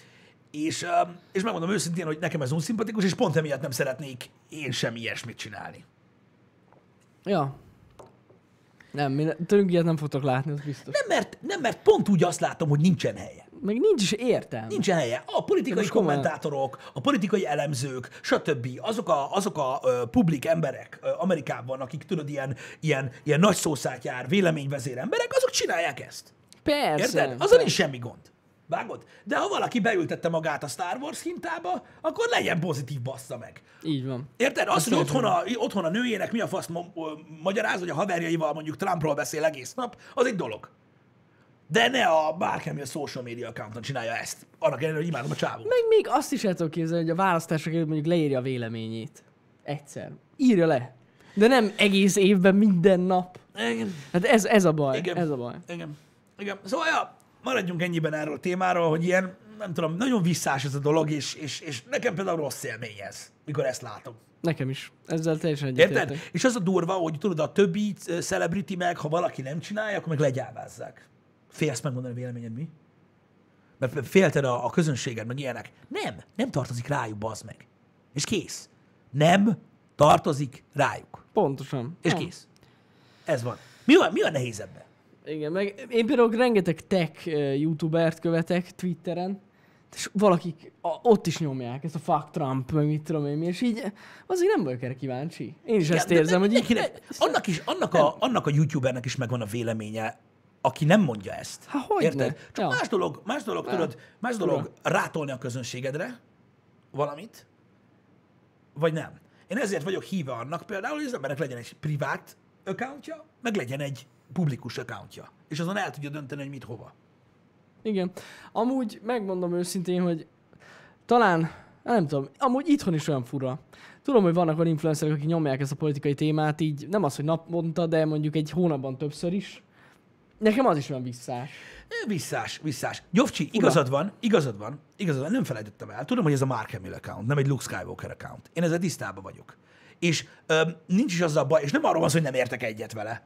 és, öm, és megmondom őszintén, hogy nekem ez unszimpatikus, és pont emiatt nem szeretnék én sem ilyesmit csinálni. Ja. Nem, mi ne, tőlünk ilyet nem fogtok látni, az biztos. Nem mert, nem, mert pont úgy azt látom, hogy nincsen helye. Meg nincs is értelme. Nincsen helye. A politikai most komolyan. kommentátorok, a politikai elemzők, stb. Azok a, azok a ö, publik emberek ö, Amerikában, akik tudod, ilyen, ilyen, ilyen nagy szószátjár, véleményvezér emberek, azok csinálják ezt. Persze. Érted? Azon nincs semmi gond. Vágod? De ha valaki beültette magát a Star Wars hintába, akkor legyen pozitív bassza meg. Így van. Érted? Hát Azt, hogy otthon a, otthon a nőjének mi a fasz ma- ö, magyaráz, hogy a haverjaival mondjuk Trumpról beszél egész nap, az egy dolog. De ne a bárkemi a social media accounton csinálja ezt. Annak ellenére, hogy imádom a csávót. Meg még azt is el tudom képzelni, hogy a választások előtt mondjuk leírja a véleményét. Egyszer. Írja le. De nem egész évben, minden nap. Igen. Hát ez, ez a baj. Igen. Ez a baj. Igen. Igen. Szóval, ja, maradjunk ennyiben erről a témáról, hogy ilyen, nem tudom, nagyon visszás ez a dolog, és, és, és nekem például rossz élmény ez, mikor ezt látom. Nekem is. Ezzel teljesen Érted? egyetértek. És az a durva, hogy tudod, a többi c- celebrity meg, ha valaki nem csinálja, akkor meg legyávázzák. Félsz megmondani a véleményed mi? Mert félted a, a közönséged, meg ilyenek. Nem, nem tartozik rájuk, bazd meg. És kész. Nem tartozik rájuk. Pontosan. És Ah, kész. Ez van. Mi a, mi a nehéz ebben? Igen, meg én például rengeteg tech eh, youtubert követek Twitteren, és valakik a, ott is nyomják ezt a fuck Trump, meg mit tudom én mi, és így eh, azért nem vagyok erre kíváncsi. Én is ezt de- de érzem, hogy így... mindenkinek- Annak, is, annak, a, annak a youtubernek is megvan a véleménye, aki nem mondja ezt. Há, Hát hogyne. Érted? Csak Ja. más dolog, más dolog, tudod, más dolog rátolni a közönségedre valamit, vagy nem. Én ezért vagyok híve annak például, hogy az embernek legyen egy privát accountja, meg legyen egy publikus accountja. És azon el tudja dönteni, hogy mit hova. Igen. Amúgy megmondom őszintén, hogy talán, nem tudom, amúgy itthon is olyan fura. Tudom, hogy vannak olyan influencerek, akik nyomják ezt a politikai témát, így nem az, hogy naponta, de mondjuk egy hónapban többször is. Nekem az is olyan visszás. Ö, Visszás, visszás. Gyofcsi, igazad van, igazad van, igazad van, nem felejtettem el. Tudom, hogy ez a Mark Hamill account, nem egy Luke Skywalker account. Én ezzel tisztában vagyok. És öm, nincs is azzal baj, és nem arról van szó, hogy nem értek egyet vele.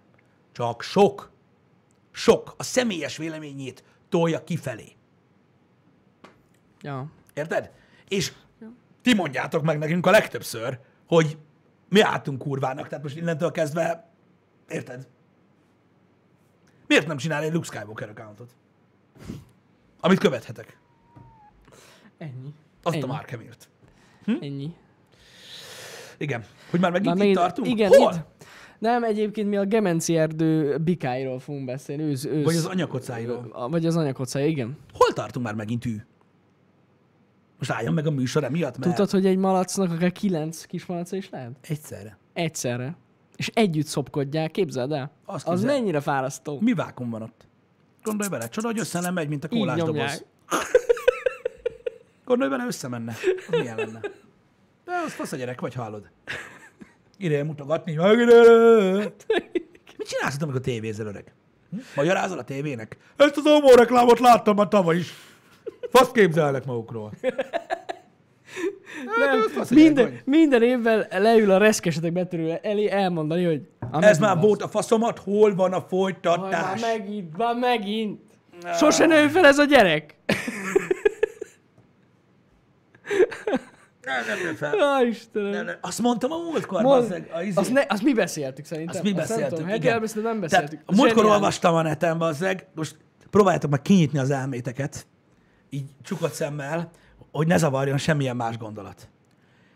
Csak sok, sok a személyes véleményét tolja kifelé. Ja. Érted? És ti mondjátok meg nekünk a legtöbbször, hogy mi álltunk kurvának, tehát most innentől kezdve, érted? Miért nem csinál egy Luke Skywalker accountot? Amit követhetek. Ennyi. Azt Ennyi. a Mark Hamill-t. Ennyi. Igen. Hogy már megint Már Hm? itt megint- tartunk? Igen, Hol? itt. Nem, egyébként mi a Gemenci erdő bikáiról fogunk beszélni. Ősz, ősz, Vagy az anyakocáiról. a- Vagy az anyakocája, igen. Hol tartunk már megint ő? Most álljon meg a műsor emiatt, mert Tudod, hogy egy malacnak akár kilenc kis malaca is lehet? egyszerre. Egyszerre. És együtt szopkodják, képzeld el? Azt az képzel- mennyire fárasztó. Mi vákum van ott? Gondolj bele, csoda, hogy össze nem megy, mint a Így kólásdoboz. nyomják. Gondolj bele, összemenne. Az milyen lenne? De az fasz a gyerek, vagy hallod? Ideje mutogatni. Meg ide! Mit csinálsz ott, amikor tévézel öreg? Hm? Magyarázol a tévének? Ezt az OMO reklámot láttam már tavaly is. Fasz képzelnek magukról. Hát, Nem, az fasz, hogy minden, elmondj. minden évben leül a reszkesetek betörő elé elmondani, hogy... "Á, Ez megint már az." volt a faszomat, hol van a Aj, Már folytatás? megint, már megint. Sose nő fel ez a gyerek. Nem, nem, nem, fel. Á, Istenem. Nem, nem. Azt mondtam a múltkor, Mond- bazzeg, a izé- azt, ne, azt mi beszéltük szerintem. Azt mi nem beszéltük, tudom, igen. heti elbeszédet nem beszéltük. Tehát, a múltkor Zseniális. olvastam a neten, bazzeg, most próbáljátok meg kinyitni az elméteket, így csukott szemmel, hogy ne zavarjon semmilyen más gondolat.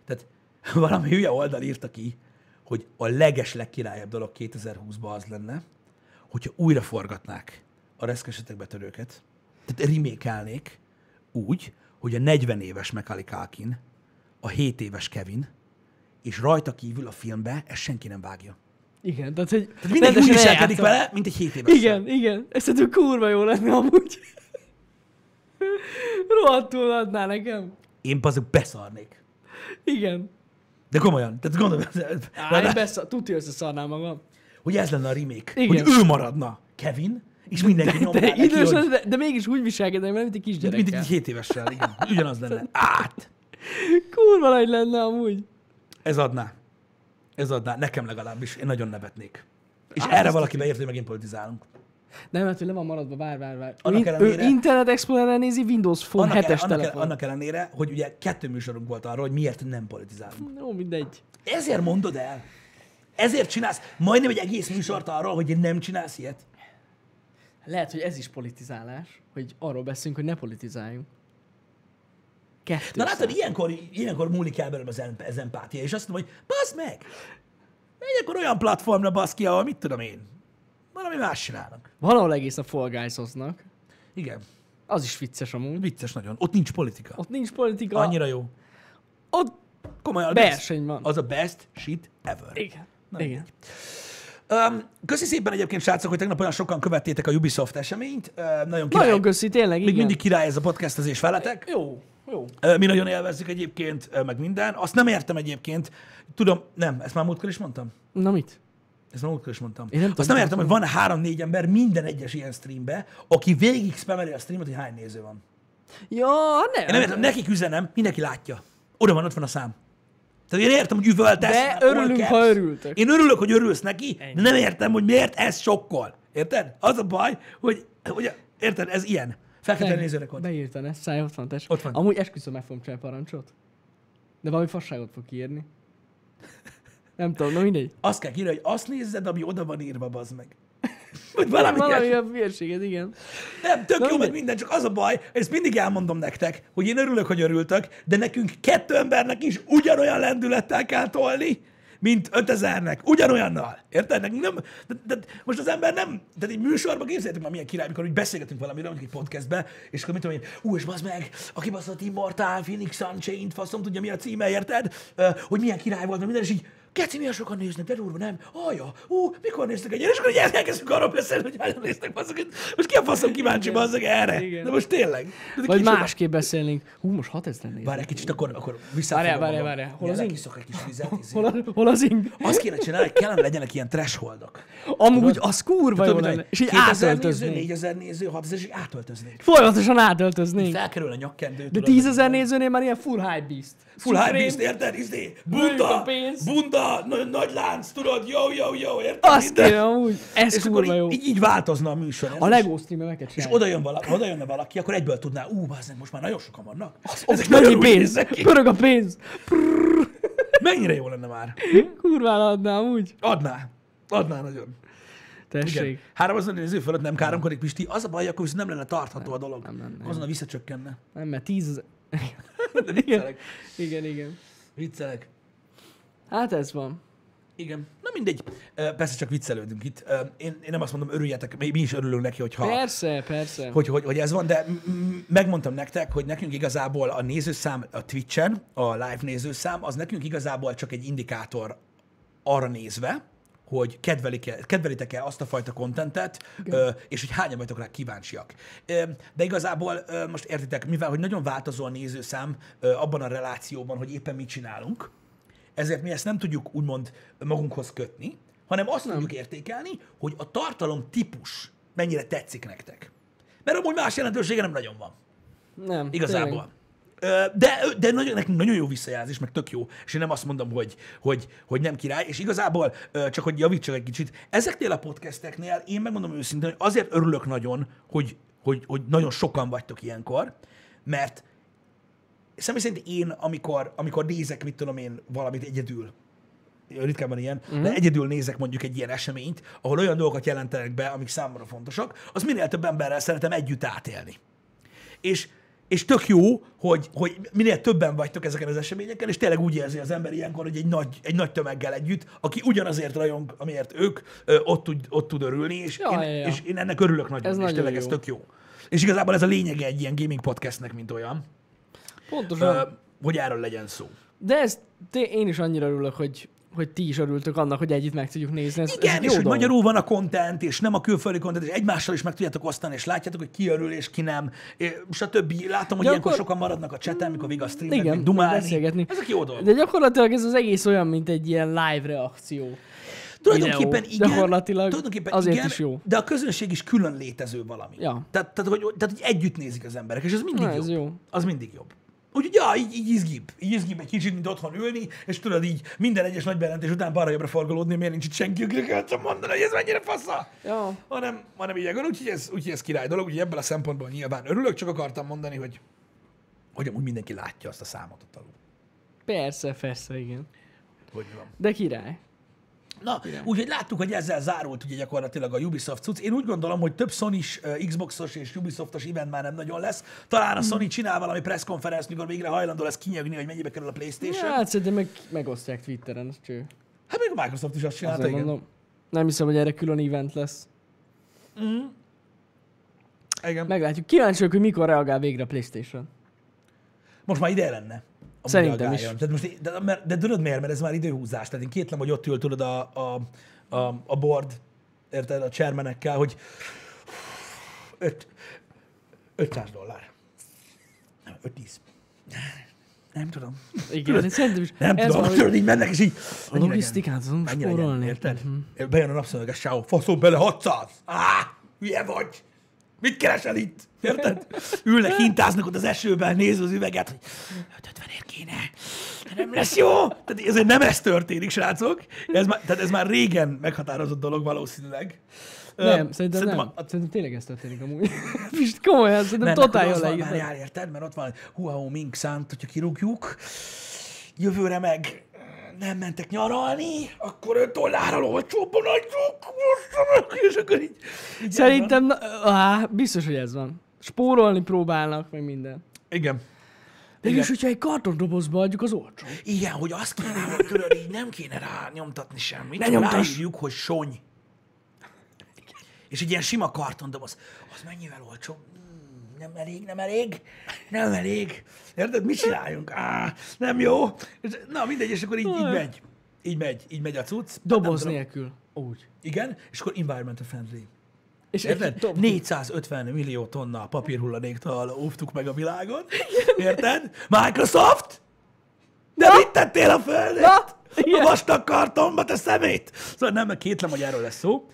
Tehát valami hülye oldal írta ki, hogy a leges legkirályabb dolog 2020-ban az lenne, hogyha újra forgatnák a reszkesetek betörőket, tehát rimékelnék úgy, hogy a 40 éves Macaulay Culkin, a 7 éves Kevin, és rajta kívül a filmbe ezt senki nem vágja. Igen, tehát hogy... Tehát Mindenki úgy viselkedik vele, mint egy 7 éves. Igen, igen. Ez szerintem kurva jó lenne amúgy. Rohadtul adná nekem. Én azok beszarnék. Igen. De komolyan, tehát gondolom, Állj, besza... tuti összeszarnám magam. hogy ez lenne a remake, Igen. hogy ő maradna Kevin, és mindenki nyomja De, hát neki, idős, hogy lesz, de, de mégis úgy viselkednek, vele, mint egy kisgyerekkel. mint egy 7 évessel, igen, ugyanaz lenne. Át! Kurva nagy lenne amúgy. Ez adná. Ez adná, nekem legalábbis, én nagyon nevetnék. És Á, erre azt valaki beért, hogy megint politizálunk. Nem, hát hogy le van maradva, vár, vár, vár. Annak Min- ellenére- Ő Internet Explorer-en nézi, Windows Phone Annak, 7-es el, annak, el, telefon. annak ellenére, hogy ugye kettő műsorunk volt arra, hogy miért nem politizálunk. Jó, mindegy. Ezért mondod el. Ezért csinálsz majdnem egy egész műsort arról, hogy nem csinálsz ilyet. Lehet, hogy ez is politizálás, hogy arról beszélünk, hogy ne politizáljunk. Kettő. Na hát- látod, ilyenkor, ilyenkor múlik el belőlem az, em- az empátia, és azt mondom, hogy baszd meg! Menj akkor olyan platformra basz ki, ahol mit tudom én. Valami más csinálnak. Valahol egész a Fall Guys-oznak. Igen. Az is vicces amúgy. Vicces nagyon. Ott nincs politika. Ott nincs politika. Annyira jó. Ott... Komolyan. az Verseny best- van. Az a best shit ever. Igen. Igen. Um, köszi szépen egyébként, srácok, hogy tegnap olyan sokan követtétek a Ubisoft eseményt. Uh, nagyon király. Nagyon köszi, tényleg, Még igen. mindig király ez a podcastezés veletek. Jó, jó. Ö, Mi nagyon élvezzük egyébként, ö, meg minden. Azt nem értem egyébként. Tudom, nem, ezt már múltkor is mondtam. Na mit? Ezt már múltkor is mondtam. Én nem Azt tudom, nem értem, hogy van három-négy ember minden egyes ilyen streambe, aki végig spameli a streamet, hogy hány néző van. Ja, nem. Én nem értem, nekik üzenem, mindenki látja. Oda van, ott van a szám. Tehát én értem, hogy üvöltesz. De meg örülünk, all caps. ha örültek. Én örülök, hogy örülsz neki, Ennyi. de nem értem, hogy miért ez sokkol. Érted? Az a baj, hogy, hogy érted, ez ilyen. Fekete nézőrekord. Beírtan ezt, 160 test. Ott van. Amúgy esküszöm, meg fogom csinálni parancsot. De valami fasságot fog kiírni. Nem tudom, na mindegy. Azt kell kírni, hogy azt nézzed, ami oda van írva, bazd meg. Vagy valami, Valami valami a hülyeséged, igen. Nem, tök Na, jó, meg mindegy. minden, csak az a baj, ezt mindig elmondom nektek, hogy én örülök, hogy örültök, de nekünk kettő embernek is ugyanolyan lendülettel kell tolni, mint 5000-nek, ugyanolyannal. Érted? Nekünk nem, de, de, most az ember nem, tehát egy műsorban képzeljétek már milyen király, amikor úgy beszélgetünk valamiről, mondjuk egy podcastbe, és akkor mit tudom én, ú, és bazd meg, aki baszott Immortal, Phoenix Unchained, faszom tudja mi a címe, érted? Ö, hogy milyen király volt, meg minden, és így, Keci, milyen sokan néznek, de durva, nem? Alja, ú, mikor néztek egyet? És akkor így elkezdünk arról beszélni, hogy hányan néznek, bazzak. Most ki a faszom kíváncsi, bazzak erre? Igen. De most tényleg. De Vagy kicsoda. másképp beszélnénk. Hú, most 6000 néz. Várj egy kicsit, akkor, akkor vissza. Várjál, várjál, várjál. Hol az én? Kiszok egy kis vizet. izé. Hol, a, hol az ing? Azt kéne csinálni, hogy kellene legyenek ilyen thresholdok. Amúgy az kurva jó Tudod, lenne. hogy És így 2000 néző, átöltöznénk. 4000 néző, 6000, és így átöltöznék. Folyamatosan átöltöznénk. Felkerül a nyakkendő. De 10.000 nézőnél már ilyen full hype beast. Full hype beast, érted? Izé, Völjük a bunda, pénzt. bunda, nagy, nagy lánc, tudod, jó, jó, jó, érted? Azt Minden. kéne amúgy. Ez És akkor kurva jó. így, így, így változna a műsor. A érted? Lego streamemeket És csinálják. oda, jön valaki, oda jönne valaki, akkor egyből tudná, ú, bazdmeg, most már nagyon sokan vannak. És Pörög a pénz. néznek ki. Pörög a pénz. Mennyire jó lenne már? Kurvára adnám úgy. Adná. Adná nagyon. Igen. Tessék. 3000 néző fölött nem káromkodik, Pisti. Az a baj, akkor viszont nem lenne tartható a dolog. nem, nem, nem. Azonnal visszacsökkenne. Nem, mert 10.000. De Igen. viccelek. Igen, igen. Viccelek. Hát ez van. Igen. Na mindegy. Ö, Persze csak viccelődünk itt. Ö, Én, én nem azt mondom, örüljetek, mi mi is örülünk neki, hogyha... Persze, persze. hogy, hogy, hogy ez van, de m- m- megmondtam nektek, hogy nekünk igazából a nézőszám a Twitch-en, a live nézőszám, az nekünk igazából csak egy indikátor arra nézve, hogy kedvelik-e, kedvelitek-e azt a fajta kontentet, ö, és hogy hányan vagytok rá kíváncsiak. Ö, de igazából ö, most értitek, mivel hogy nagyon változó a nézőszám ö, abban a relációban, hogy éppen mit csinálunk, ezért mi ezt nem tudjuk úgymond magunkhoz kötni, hanem azt nem. tudjuk értékelni, hogy a tartalom típus mennyire tetszik nektek. Mert amúgy más jelentősége nem nagyon van. Nem. Igazából. Ö, De, de nagyon, nekünk nagyon jó visszajelzés, meg tök jó. És én nem azt mondom, hogy, hogy, hogy nem király. És igazából, ö, csak hogy javítsak egy kicsit, ezeknél a podcasteknél én megmondom őszintén, hogy azért örülök nagyon, hogy, hogy, hogy nagyon sokan vagytok ilyenkor, mert személy szerint én, amikor, amikor nézek, mit tudom én, valamit egyedül, ritkán van ilyen, Mhm. de egyedül nézek mondjuk egy ilyen eseményt, ahol olyan dolgokat jelentenek be, amik számomra fontosak, az minél több emberrel szeretem együtt átélni. És, és tök jó, hogy, hogy minél többen vagytok ezeken az eseményeken, és tényleg úgy érzi az ember ilyenkor, hogy egy nagy, egy nagy tömeggel együtt, aki ugyanazért rajong, amiért ők, ö, ott tud, ott tud örülni, és, Ja, én, ja, ja. és én ennek örülök nagyon, Ez és nagyon tényleg ez jó. tök jó. És igazából ez a lényege egy ilyen gaming podcastnek, mint olyan, Pontosan. ö, hogy erről legyen szó. De ez, te, én is annyira örülök, hogy, hogy ti is örültök annak, hogy együtt meg tudjuk nézni. Ez, ez Igen, egy és jó hogy dolog. magyarul van a content, és nem a külföldi content, és egymással is meg tudjátok osztani, és látjátok, hogy ki örül, és ki nem, és stb. Látom, hogy De ilyenkor akkor- sokan maradnak a cseten, mikor vig a streamet, Igen, meg dumálni. beszélgetni. Ezek jó dolgok. De gyakorlatilag ez az egész olyan, mint egy ilyen live reakció. Tulajdonképpen videó. igen. Gyakorlatilag tulajdonképpen azért igen, is jó. De a közönség is külön létező valami. Ja. Tehát, tehát, hogy, tehát, hogy együtt nézik az emberek, és az mindig Na, ez jobb. jó. Az mindig jobb. Úgyhogy, ja, így, így izgibb. Így izgibb egy kicsit, mint otthon ülni, és tudod így minden egyes nagy bejelentés után balra-jobbra forgolódni, miért nincs itt senki, akinek el tudom mondani, hogy ez mennyire fasza. Ja. Hanem, hanem így van, úgyhogy ez, úgyhogy ez király dolog, úgyhogy ebből a szempontból nyilván örülök, csak akartam mondani, hogy, hogy amúgy mindenki látja azt a számot ott alul. Persze, persze, igen. Hogy mi van. De király. Na, úgyhogy láttuk, hogy ezzel zárult ugye gyakorlatilag a Ubisoft cucc. Én úgy gondolom, hogy több sony Xboxos és Ubisoftos event már nem nagyon lesz. Talán a Hmm. Sony csinál valami presszkonferenc, mikor végre hajlandó lesz kinyögni, hogy mennyibe kerül a PlayStation. Ja, hát szerintem meg, megosztják Twitteren, az cső. Hát még a Microsoft is azt csinálta, Azért igen. mondom. Nem hiszem, hogy erre külön event lesz. igen. Meglátjuk. Kíváncsi vagyok, hogy mikor reagál végre a Playstation. Most már ide lenne. amúgy Szerintem reagáljon. is. Tehát most, én- de, de, de tudod miért? Mert ez már időhúzás. Tehát én kétlem, hogy ott ül tudod a, a, a, a board, érted, a csermenekkel, hogy öt- 500 dollár. Nem, 5-10. Nem tudom. Igen, szerintem is. Nem ez tudom, van, tudod, hogy így mennek, és így... a logisztikát azon Mennyire legyen, spórolni. Mhm. érted? Uh-huh. Bejön a napszöveg, a sávó, faszom bele 600! Á, hülye vagy! Mit keresel itt? Érted? Ülnek, Hát. hintáznak ott az esőben, nézve az üveget, hogy 550-ért kéne. De nem lesz jó. Tehát ezért nem ez történik, srácok. Ez már, tehát ez már régen meghatározott dolog valószínűleg. Ö, Nem, szerintem, nem. a- a- Szerintem tényleg ez történik amúgy. Pist, komolyan, szerintem mert totál akkor jól az van, már leírtad. jár, érted? Mert ott van Huawei Ming szánt, hogyha kirúgjuk, jövőre meg eh, nem mentek nyaralni, akkor 5 dollárral olcsóbban adjuk, most meg, és akkor így... így Szerintem, na, á, biztos, hogy ez van. Spórolni próbálnak, meg minden. Igen. Mégis, hogyha egy kartondobozba adjuk, az olcsó. Igen, hogy azt kéne, hogy tudod, így nem kéne rá nyomtatni semmit. Ne csak nyomtass! Ráírjuk, hogy sony. És egy ilyen sima kartondoboz. Az mennyivel olcsó? Hmm, Nem elég, nem elég, nem elég. Érted? Mit csináljunk? Á, nem jó. És, na, mindegy, és akkor így, így megy. Így megy, így megy a cucc. Nem Doboz tudom. nélkül. Úgy. Igen, és akkor environmental friendly. És egy Érted? dob... 450 millió tonna papírhulladéktal óvtuk meg a világon. Érted? Microsoft? De mit tettél a földet? Na, A igen. vastag kartonba, te szemét! Szóval nem, kétlem, hogy erről lesz szó.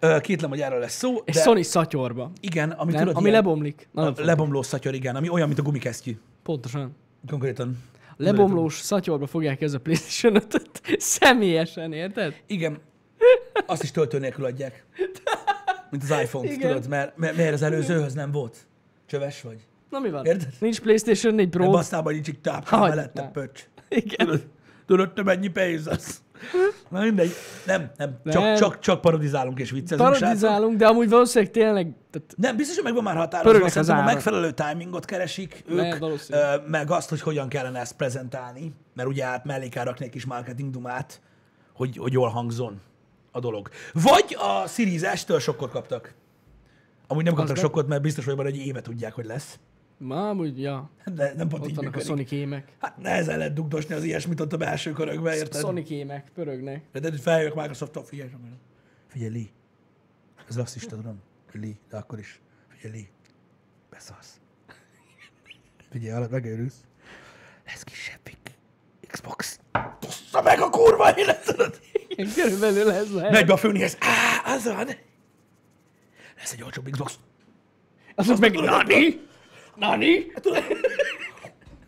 Ö, Kétlem, hogy erről lesz szó. És de Sony szatyorba. Igen, ami, Nem? tudod, Ami ilyen- lebomlik. a Nagyon le... lebomló szatyor, igen, ami olyan, mint a gumikesztyű. Pontosan. Konkrétan. Lebomlós szatyorba fogják ez a PlayStation 5 Személyesen, érted? Igen. Azt is töltő nélkül adják. Mint az iPhone-t, Igen. tudod, mert, mert, mert az előzőhöz nem volt. Csöves vagy. Na mi van? Érted? Nincs PlayStation 4 Pro. Ebben aztán nincs egy tápka Hagyd mellette már. pöcs. Igen. Tudod, tudod te mennyi pénz az? Na mindegy. Nem, nem. Csak, Nem. Csak, csak parodizálunk és viccezünk. srácok. Parodizálunk, de amúgy valószínűleg tényleg... Tehát, Nem, biztos, hogy meg van már határozva. Pörögnek az Szerintem a árak. megfelelő timingot keresik ők, Lehet, valószínű. ö, meg azt, hogy hogyan kellene ezt prezentálni, mert ugye hát mellé kell rakni egy kis marketing dumát, hogy, hogy jól hangzon a dolog. Vagy a Series S-től sokkot kaptak. Amúgy nem kaptak nem. sokkot, mert biztos vagy benne, hogy egy éve tudják, hogy lesz. ma amúgy, ja. De nem pont Ott Hát így vannak a működik. Sonic émek. Hát nehezen lehet dugdosni az ilyesmit ott a belső körökbe, érted? Sonic émek pörögnek. De hogy feljövök Microsoft-tól, figyelj, csak mondom. figyelj, Lee, ez rasszista, tudom, Lee, de akkor is, figyelj, Lee, beszarsz. Figyelj, alatt megőrülsz. Lesz kisebbik. Xbox. Tossza meg a kurva életedet! Igen, Körülbelül ez lehet. Megy be a főnihez. Á, az van. Lesz egy olcsóbb Xbox. Azok meg... Nani? Nani?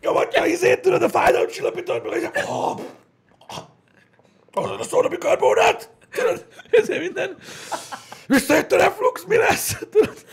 Nyomatja a izét, tudod, a fájdalomcsillapítót, meg egy... Ah, ah, a szónabikarbonát! Tudod, ezért minden. Visszajött a reflux, mi lesz? Tudod?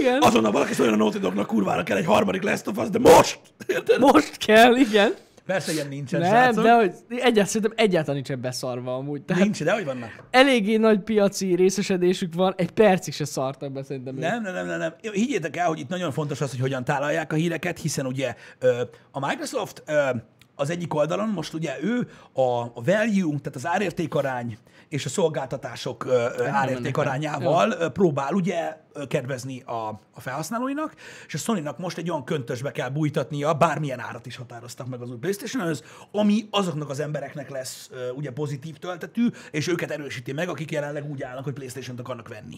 Igen. Azonnal valaki szóljon a Naughty Dognak, kurvára kell egy harmadik Last of Us, de most! Érted? Most kell, igen. Persze ilyen nincsen, Nem, srácok. de hogy egyáltalán, szerintem egyáltalán nincsen beszarva amúgy. Tehát Nincs, de hogy vannak? eléggé nagy piaci részesedésük van, egy percig se szartak be szerintem. ők. Nem, nem, nem, nem, nem. Higgyétek el, hogy itt nagyon fontos az, hogy hogyan tálalják a híreket, hiszen ugye ö, a Microsoft ö, az egyik oldalon most ugye ő a a value, tehát az árértékarány és a szolgáltatások ö, ö, árértékarányával ö, próbál ugye ö, kedvezni a, a felhasználóinak, és a Sony-nak most egy olyan köntösbe kell bújtatnia, bármilyen árat is határoztak meg az új playstation ami azoknak az embereknek lesz ö, ugye pozitív töltetű, és őket erősíti meg, akik jelenleg úgy állnak, hogy Playstation-t akarnak venni.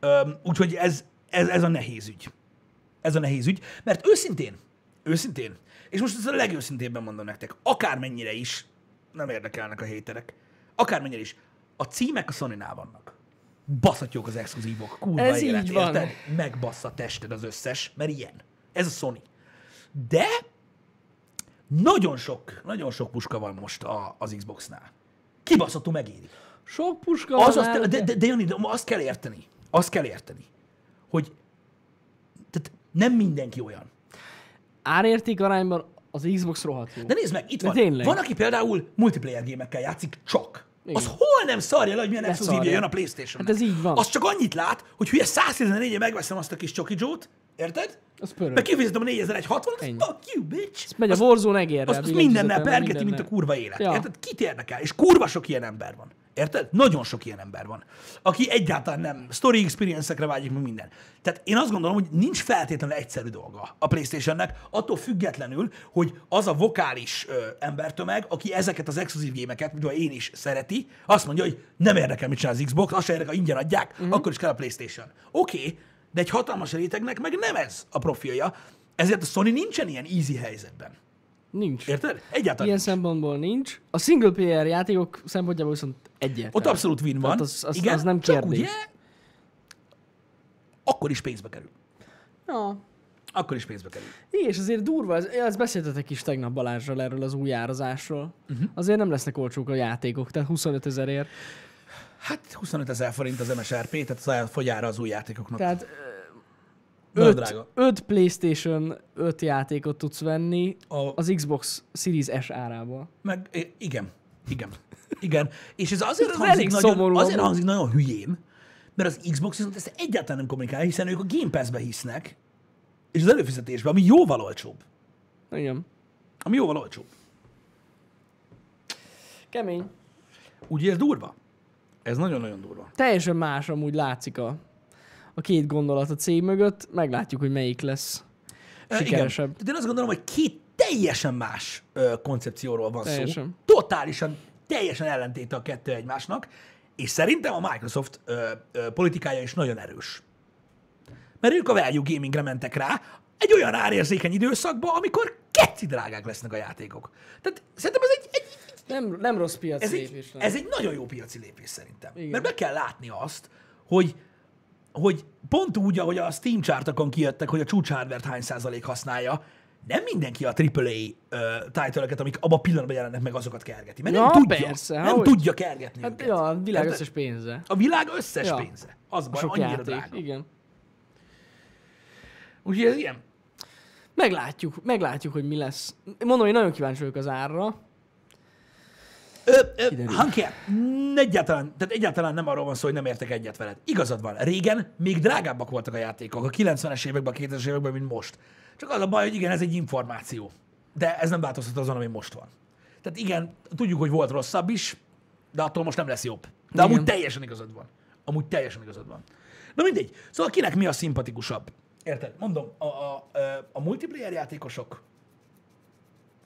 Öm, úgyhogy ez, ez, ez a nehéz ügy. Ez a nehéz ügy, mert őszintén, őszintén, és most ezt a legőszintébben mondom nektek, akármennyire is nem érdekelnek a héterek, akármennyire is, a címek a sony vannak. Baszatjuk az exkluzívok, kurva Ez élet, így van. érted? Megbassza tested az összes, mert ilyen. Ez a Sony. De nagyon sok, nagyon sok puska van most a, az Xbox-nál. Kibaszottul megéri. Sok puska Az, van az, náluk, de, de, de Jani, de azt kell érteni, azt kell érteni, hogy tehát nem mindenki olyan. Árérték arányban az Xbox rohadt jó. De nézd meg, itt De van. tényleg. Van, aki például multiplayer gémekkel játszik csak. Igen. Az hol nem szarja le, hogy milyen exkluzívja szarja. jön a playstation Hát ez így van. Az csak annyit lát, hogy hülye 114 -e megveszem azt a kis csoki jót, érted? Az pörög. Meg kifizetem a 4160 Ennyi. fuck you, bitch! Azt megy a Warzone egérrel. az, az billentyűzetemmel, mindennel pergeti, mint a mindennel. kurva élet. Ja. Érted? Kit érdekel? És kurva sok ilyen ember van. Érted? Nagyon sok ilyen ember van, aki egyáltalán nem story experience-ekre vágyik, meg minden. Tehát én azt gondolom, hogy nincs feltétlenül egyszerű dolga a PlayStation-nek, attól függetlenül, hogy az a vokális ö, embertömeg, aki ezeket az exkluzív gémeket, mint ahogy én is szereti, azt mondja, hogy nem érdekel, mit csinál az Xbox, azt se érdekel, ha ingyen adják, Mhm. akkor is kell a PlayStation. Oké, okay, de egy hatalmas rétegnek meg nem ez a profilja, ezért a Sony nincsen ilyen easy helyzetben. Nincs. Érted? Egyáltalán. Ilyen szempontból nincs. A single player játékok szempontjából viszont egyet. Ott abszolút win van. Tehát az- az- az nem csak kérdés. Ugye, akkor is pénzbe kerül. Ja. Akkor is pénzbe kerül. És azért durva, ez, ezt beszéltetek is tegnap Balázsral erről az új árazásról. Mhm. Uh-huh. Azért nem lesznek olcsók a játékok, tehát 25 ezerért. Hát 25 ezer forint az MSRP, tehát az elfogyára az új játékoknak. Tehát Nagyon öt, drága. öt PlayStation 5 játékot tudsz venni A- az Xbox Series S árába. Meg, i- igen, igen, igen. És ez azért, Ez hangzik elég nagyon, szomorú azért amúgy. hangzik nagyon hülyén, mert az Xbox viszont ezt egyáltalán nem kommunikál, hiszen ők a Game Pass-be hisznek, és az előfizetésbe, ami jóval olcsóbb. Igen. Ami jóval olcsóbb. Kemény. Úgyhogy ez durva. Ez nagyon-nagyon durva. Teljesen más amúgy látszik a, a két gondolat a cég mögött. Meglátjuk, hogy melyik lesz. Ö, Sikeresebb. Igen. Tehát én azt gondolom, hogy két teljesen más ö, koncepcióról van szó. Teljesen. Totálisan, teljesen ellentéte a kettő egymásnak, és szerintem a Microsoft ö, ö, politikája is nagyon erős. Mert ők a value gamingre mentek rá egy olyan árérzékeny időszakba, amikor keci drágák lesznek a játékok. Tehát szerintem ez egy, egy Nem, nem rossz piaci ez egy, lépés. lenne. ez egy nagyon jó piaci lépés szerintem. Igen. Igen. Mert meg kell látni azt, hogy hogy pont úgy, ahogy a Steam csártakon kijöttek, hogy a csúcs hardware hány százalék használja, nem mindenki a AAA ö, title amik abban a pillanatban jelennek meg, azokat kergeti. Mert Ja, nem tudja, persze, nem hogy? tudja kergetni Hát, őket. ja, a világ Érted? összes pénze. A világ összes Ja. pénze. Az A baj, sok annyira játék. drága. Igen. Úgyhogy ez ilyen. Meglátjuk, meglátjuk, hogy mi lesz. Mondom, én nagyon kíváncsi vagyok az árra. Ö, ö, Hanke, egyáltalán, tehát egyáltalán nem arról van szó, hogy nem értek egyet veled. Igazad van. Régen még drágábbak voltak a játékok a 90-es években, a 2000-es években, mint most. Csak az a baj, hogy igen, ez egy információ. De ez nem változtat azon, ami most van. Tehát igen, tudjuk, hogy volt rosszabb is, de attól most nem lesz jobb. De amúgy Igen. teljesen igazad van. Amúgy teljesen igazad van. Na mindegy. Szóval kinek mi a szimpatikusabb? Érted? Mondom, a, a, a- a multiplayer játékosok,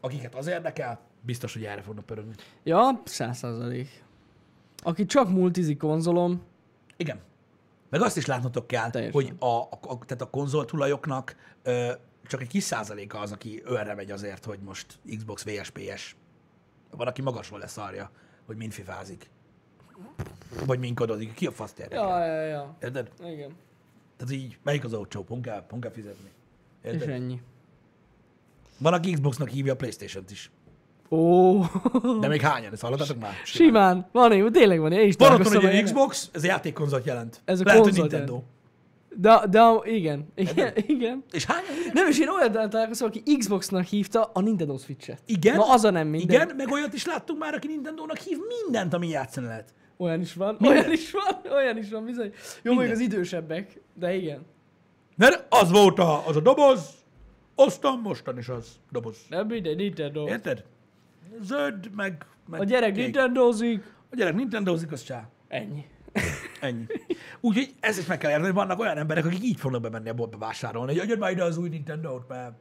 akiket az érdekel, biztos, hogy erre fognak pörögni. Ja, száz százalék. Aki csak multizik konzolom, Igen. Meg azt is látnotok kell, Teljesen. hogy a, a, a, tehát a konzoltulajoknak ö, csak egy kis százaléka az, aki őre megy azért, hogy most Xbox VSPS. Van, aki magasról leszarja, hogy mind fifázik. Vagy minkodozik. Ki a fasz érdekel? Ja, ja, ja. Érted? Igen. Tehát így, melyik az olcsó? Pont kell, pont kell fizetni. És Érted? ennyi. Van, aki Xboxnak hívja a Playstation-t is. Ó, De még hányan? Ezt hallottatok már? simán. Van ilyen, tényleg van ilyen. Szóval Van Én is otthon találkoztam ugye egy ilyenel. Xbox, ez a játékkonzolt jelent. Ez a Lehet, hogy konzolt Nintendo. De, de igen, igen, igen. És hányan? Nem is én olyan találkoztam, aki Xboxnak hívta a Nintendo Switch-et. Igen. Na az a nem minden. Igen, meg olyat is láttunk már, aki Nintendónak hív mindent, ami játszani lehet. Olyan is van, Minden. olyan is van, olyan is van, bizony. Jó, mondjuk az idősebbek, de igen. Mert az volt a, az a doboz, aztán mostan is az doboz. Nem mindegy, Nintendo. Érted? Zöld, meg... meg A gyerek kék. Nintendozik. A gyerek Nintendozik, az csá. Ennyi. Ennyi. Úgyhogy ezt is meg kell érteni, hogy vannak olyan emberek, akik így fognak bemenni a boltba vásárolni, hogy adjad már ide az új Nintendo-t, mert...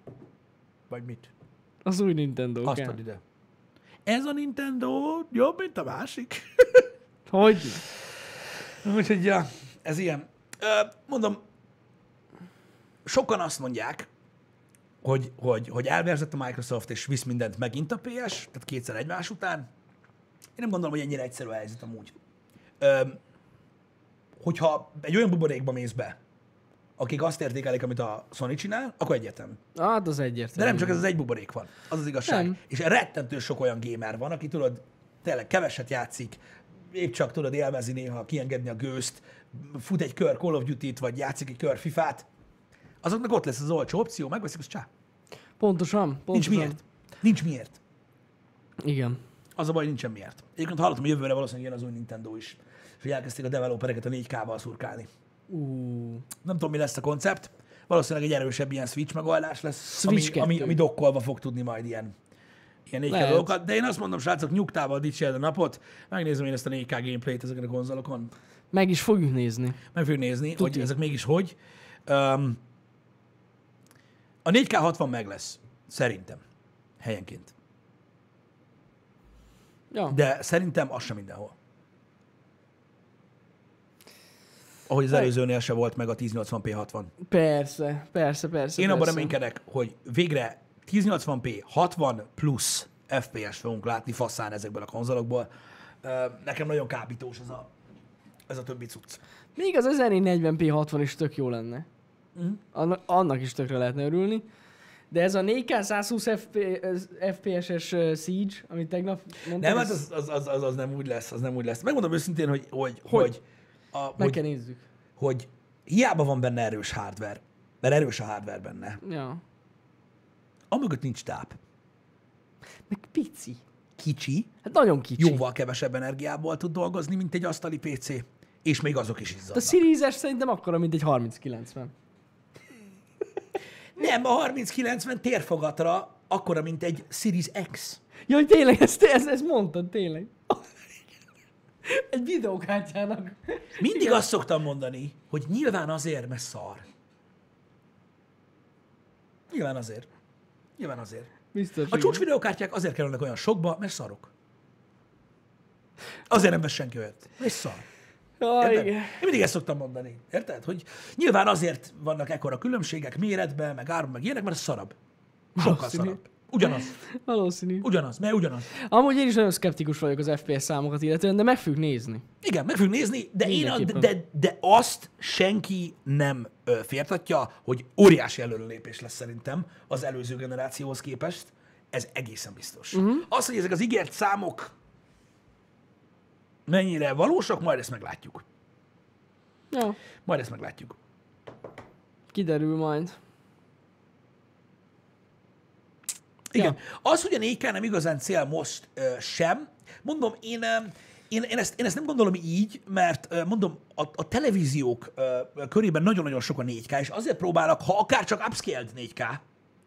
Vagy mit? Az új Nintendo. Azt ad ide. Ez a Nintendo jobb, mint a másik. Hogy? Úgyhogy, ja, ez ilyen. Ö, Mondom, sokan azt mondják, hogy, hogy, hogy elverzett a Microsoft, és visz mindent megint a PS, tehát kétszer egymás után. Én nem gondolom, hogy ennyire egyszerű a helyzet amúgy. Ö, hogyha egy olyan buborékba mész be, akik azt értékelik, amit a Sony csinál, akkor egyetem. Hát az De egyértelmű. nem csak ez az egy buborék van, az az igazság. Nem. Nem. És rettentő sok olyan gamer van, aki tudod, tényleg keveset játszik, épp csak tudod élvezni néha, kiengedni a gőzt, fut egy kör Call of Duty-t, vagy játszik egy kör FIFA-t, azoknak ott lesz az olcsó opció, megveszik, az csá. Pontosan, Nincs pontosan. miért. Nincs miért. Igen. Az a baj, nincsen miért. Egyébként hallottam, hogy jövőre valószínűleg jön az új Nintendo is. És hogy elkezdték a developereket a 4K-val szurkálni. Ú, Nem tudom, mi lesz a koncept. Valószínűleg egy erősebb ilyen Switch megoldás lesz, Switch ami, ami, kettő. ami dokkolva fog tudni majd ilyen, ilyen 4K Lehet. dolgokat. De én azt mondom, srácok, nyugtával dicsérd a napot. Megnézem én ezt a 4K gameplayt ezeken a konzolokon. Meg is fogjuk nézni. Meg fogjuk nézni, hogy Tuti. ezek mégis hogy. Um, a 4K 60 meg lesz, szerintem, helyenként. Ja. De szerintem az sem mindenhol. Ahogy az Meg- előzőnél se volt meg a 1080p 60. Persze, persze, persze. Én abban persze. reménykedek, hogy végre 1080p 60 plusz FPS fogunk látni faszán ezekből a konzolokból. Ö, Nekem nagyon kábítós ez a, ez a többi cucc. Még az 1040p 60 is tök jó lenne. Mhm. Annak, annak is tökre lehetne örülni. De ez a 4K 120 FP, FPS-es ö, Siege, amit tegnap mondtam, Nem, hát ezt az, az, az, az, az, nem úgy lesz, az nem úgy lesz. Megmondom őszintén, hogy, hogy, hogy? Hogy? hogy, a, meg hogy, kell nézzük. hogy hiába van benne erős hardware, mert erős a hardware benne. Ja. Amögött nincs táp. Meg pici. Kicsi, Hát nagyon kicsi. jóval kevesebb energiából tud dolgozni, mint egy asztali PC, és még azok is A izzadnak. Series S szerintem akkora, mint egy 3090. Nem, a 3090 térfogatra akkora, mint egy Series X. Jaj, tényleg, ezt, ezt, ezt mondtad, tényleg. Egy videókártyának. Mindig azt szoktam mondani, hogy nyilván azért, mert szar. Nyilván azért. Nyilván azért. Biztos. A igen. csúcs videókártyák azért kerülnek olyan sokba, mert szarok. Azért nem vesz senki olyat. És szar. Jaj, Érted? igen. Én mindig ezt szoktam mondani. Érted? Hogy nyilván azért vannak ekkora különbségek méretben, meg árban, meg ilyenek, mert szarabb. Sokkal Valószínű. szarabb. Ugyanaz. Valószínű. Ugyanaz. Mert ugyanaz. Amúgy én is nagyon szkeptikus vagyok az FPS számokat illetően, de meg fogjuk nézni. Igen, meg fogjuk nézni, de, én a, Mindenképpen. de, de azt senki nem ö, fértatja, hogy óriási előrelépés lesz szerintem az előző generációhoz képest. Ez egészen biztos. Uh-huh. Az, hogy ezek az ígért számok mennyire valósak, majd ezt meglátjuk. Ja, Majd ezt meglátjuk. kiderül majd. Igen. Ja. Az, hogy a 4K nem igazán cél most ö, sem, mondom, én, ö, én, én, ezt, én ezt nem gondolom így, mert ö, mondom, a, a televíziók ö, ö, körében nagyon-nagyon sok a 4K, és azért próbálnak, ha akár csak upscaled 4K,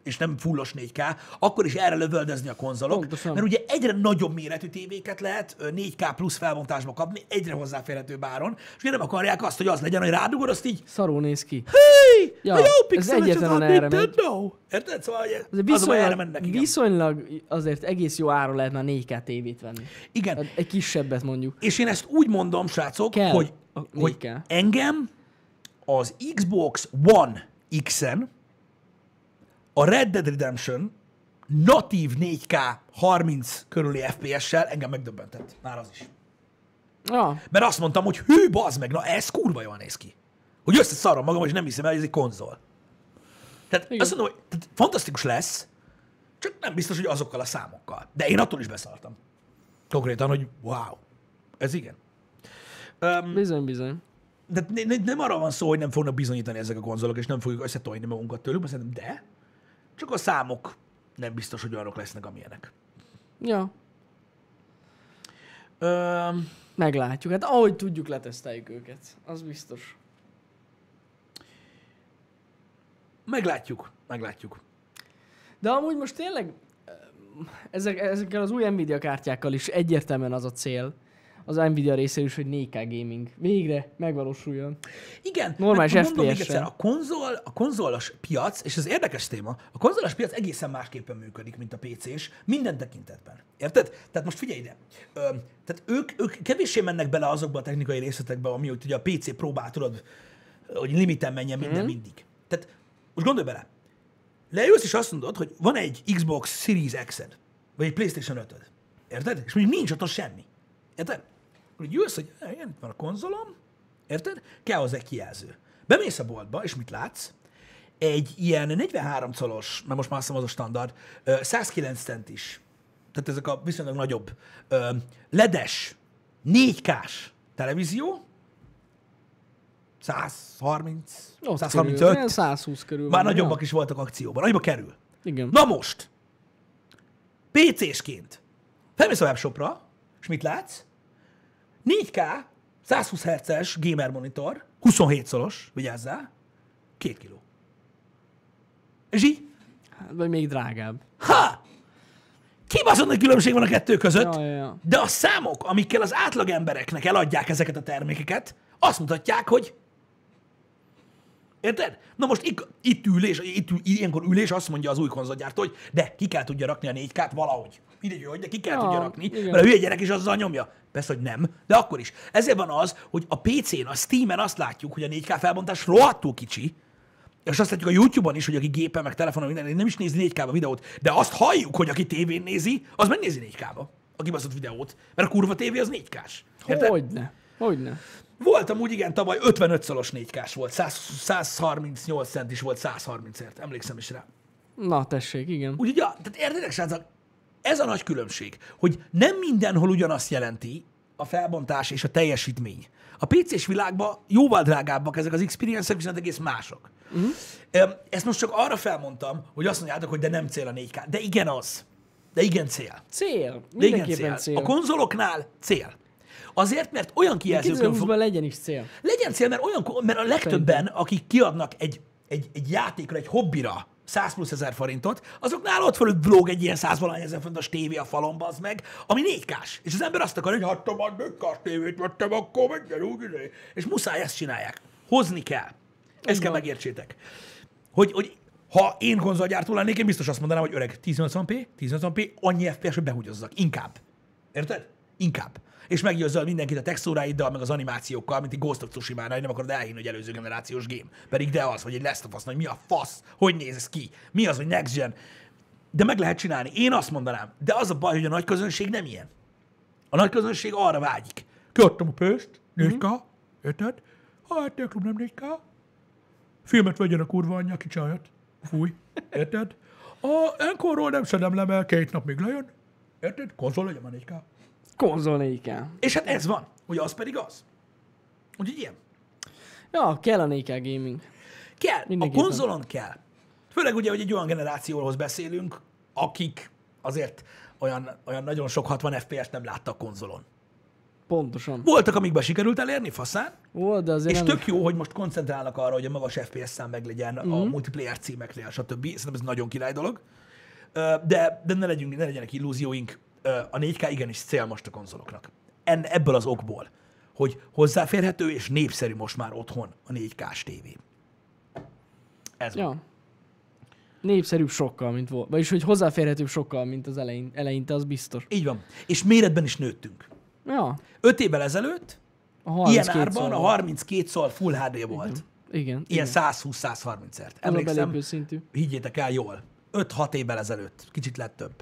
és nem fullos 4K, akkor is erre lövöldözni a konzolok. Pontosan. Mert ugye egyre nagyobb méretű tévéket lehet ö, 4K plusz felbontásba kapni, egyre hozzáférhető báron, és ugye nem akarják azt, hogy az legyen, hogy rádugod, azt így Szarul néz ki. Hey! Ja, a jó ez pixeles az a egyetlen erre megy. Nintendo! Érted? Szóval hogy az, Azért a baj, erre viszonylag, mennek, igen. viszonylag azért egész jó áron lehetne a 4K tévét venni. igen. Egy kisebbet mondjuk. És én ezt úgy mondom, srácok, Kell. hogy, A- hogy még kell. engem az Xbox One X-en a Red Dead Redemption natív 4K 30 körüli FPS-sel engem megdöbbentett. Már az is. Ja, Mert azt mondtam, hogy hű, bazd meg, na ez kurva jól néz ki. Hogy összeszarom magam, és nem hiszem el, hogy ez egy konzol. Tehát Igen. Igen. azt mondom, hogy tehát fantasztikus lesz, csak nem biztos, hogy azokkal a számokkal. De én attól is beszartam. Konkrétan, hogy wow, ez igen. bizony, bizony. De ne- ne- nem arra van szó, hogy nem fognak bizonyítani ezek a konzolok, és nem fogjuk összetolni magunkat tőlük, mert szerintem de. Csak a számok nem biztos, hogy olyanok lesznek, amilyenek. Ja, Öm, meglátjuk. Hát ahogy tudjuk, leteszteljük őket. Az biztos. meglátjuk, meglátjuk. De amúgy most tényleg ö, ezek, ezekkel az új Nvidia kártyákkal is egyértelműen az a cél, az Nvidia részéről is, hogy 4K gaming végre megvalósuljon. Igen, Normális mert mondom még FPS-re. egyszer, a, konzol, a konzolos piac, és ez érdekes téma, a konzolos piac egészen másképpen működik, mint a PC-s, minden tekintetben. Érted? Tehát most figyelj ide. Ö, tehát ők, ők kevéssé mennek bele azokba a technikai részletekbe, ami úgy, ugye a PC próbál, tudod, hogy limiten menjen minden mm. mindig. Tehát most gondolj bele, leülsz és azt mondod, hogy van egy Xbox Series X-ed, vagy egy Playstation 5-öd. Érted? És mondjuk nincs ott semmi. Érted? Akkor így ülsz, hogy "Eh, igen, itt van a konzolom, érted? Kell hozzá egy kijelző. Bemész a boltba, és mit látsz? Egy ilyen 43 colos, mert most már azt hiszem az a standard, ö, 109 cent is, tehát ezek a viszonylag nagyobb, ö, ledes, 4K-s televízió, 130, Ott körül, 135, olyan 120 körül. már van, nagyobbak ja? is voltak akcióban, nagyba kerül. Igen. Na most, PC-sként felmész a webshopra, és mit látsz? 4K, 120 Hz-es gamer monitor, 27 szolos, vigyázzál, 2 kiló. És így, Hát, Vagy még drágább. ha! Kibaszott nagy különbség van a kettő között, Ja, ja, ja. de a számok, amikkel az átlag embereknek eladják ezeket a termékeket, azt mutatják, hogy Érted? Na most itt, itt ülés, itt ül, ilyenkor ülés azt mondja az új konzolgyártó, hogy de ki kell tudja rakni a 4K-t valahogy. Mindegy, hogy de ki kell Ja, tudja rakni, igen. mert a hülye gyerek is azzal nyomja. Persze, hogy nem, de akkor is. Ezért van az, hogy a PC-n, a Steam-en azt látjuk, hogy a 4K felbontás rohadtul kicsi, és azt látjuk a YouTube-on is, hogy aki gépen, meg telefonon, minden, nem is nézi 4K-ba videót, de azt halljuk, hogy aki tévén nézi, az megnézi 4K-ba a kibaszott videót, mert a kurva tévé az 4K-s. Érted? Hogyne. Hogyne. Voltam úgy, igen, tavaly 55 szolos 4K-s volt, 100, 138 cent is volt 130 ért, emlékszem is rá. Na, tessék, igen. Úgyhogy, ja, tehát értedek, srácok, ez a nagy különbség, hogy nem mindenhol ugyanazt jelenti a felbontás és a teljesítmény. A PC-s világban jóval drágábbak ezek az experience viszont egész mások. Mhm. Uh-huh. Ezt most csak arra felmondtam, hogy azt mondjátok, hogy de nem cél a 4K. De igen az. De igen cél. Cél. De igen cél. Mindenképpen cél. A konzoloknál cél. Azért, mert olyan kijelzőkön fog... 2020-ban legyen is cél. Legyen cél, mert, olyan, mert a legtöbben, akik kiadnak egy, egy, egy játékra, egy hobbira 100 plusz ezer forintot, azoknál ott fölött blog egy ilyen 100 valahány ezer forintos tévé a falon, az meg, ami 4 kás. És az ember azt akarja, hogy hát te már 4 kás tévét vettem, akkor menjen úgy, izé. és muszáj ezt csinálják. Hozni kell. Ezt kell megértsétek. Hogy, hogy ha én konzolgyártó lennék, én biztos azt mondanám, hogy öreg, 1080p, 1080p, annyi FPS, hogy behugyozzak. Inkább. Érted? Inkább. És meggyőzöl mindenkit a textúráiddal, meg az animációkkal, mint egy Ghost of Tsushima-ra, hogy nem akarod elhinni, hogy előző generációs game. Pedig de az, hogy egy Last of Us, hogy mi a fasz, hogy néz ez ki, mi az, hogy next gen. De meg lehet csinálni. Én azt mondanám. De az a baj, hogy a nagy közönség nem ilyen. A nagy közönség arra vágyik. Kiadtam a pőst, 4K, érted? Hát, a klub nem 4K, filmet vegyen a kurva anyja, ki csajat. Fúj. Érted? A enkorról nem szedem le, mert két nap még lejön. Érted? Konzol legyen már 4K. Konzol 4K. És hát ez van. Ugye az pedig az. Úgyhogy ilyen. Ja, kell a 4K gaming. Kell. A Mindenképpen. konzolon kell. Főleg ugye, hogy egy olyan generációhoz beszélünk, akik azért olyan, olyan nagyon sok 60 FPS-t nem láttak konzolon. Pontosan. Voltak, amikben sikerült elérni, faszán, Volt, de azért És nem... tök jó, hogy most koncentrálnak arra, hogy a magas FPS szám meg legyen a Mhm. multiplayer címeknél, stb. Szerintem ez nagyon király dolog. Ö, De, de ne, legyünk, ne legyenek illúzióink. Ö, A 4K igenis cél most a konzoloknak. En, ebből az okból, hogy hozzáférhető és népszerű most már otthon a 4K-s tévé. Ez van. Ja. Népszerűbb sokkal, mint volt. Vagyis, hogy hozzáférhetőbb sokkal, mint az elején, eleinte, az biztos. Így van. És méretben is nőttünk. Ja. Öt évvel ezelőtt A ilyen 32 árban a szal. 32 szal full HD volt. Igen. Ilyen Mhm. igen. 120-130-ért. Az a Emlékszem, belépő szintű. higgyétek el, jól. 5-6 évvel ezelőtt, kicsit lett több.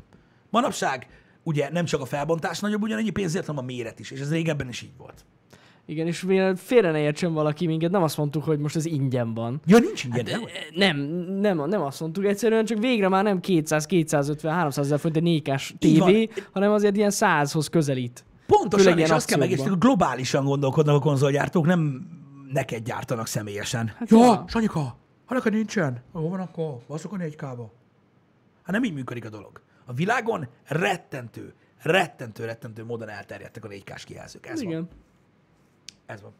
Manapság ugye nem csak a felbontás nagyobb ugyanannyi pénzért, hanem a méret is, és ez régebben is így volt. Igen, és mivel félre ne értsen valaki minket, nem azt mondtuk, hogy most ez ingyen van. Ja, nincs ingyen, E, nem? Nem, nem, nem azt mondtuk, egyszerűen csak végre már nem 200, 250, 300 ezer forint egy nékás Így van. tévé, hanem azért ilyen 100-hoz közelít. Pontosan, főleg és ilyen azt kell megérteni, hogy akciókban. globálisan gondolkodnak a konzolgyártók, nem neked gyártanak személyesen. Hát Ja, ja. Sanyika, ha neked nincsen, hol van akkor? Baszok a 4 kába. Hát nem így működik a dolog. A világon rettentő, rettentő, rettentő módon elterjedtek a 4 k kijelzők. Ez van. Hát Igen. Ez van.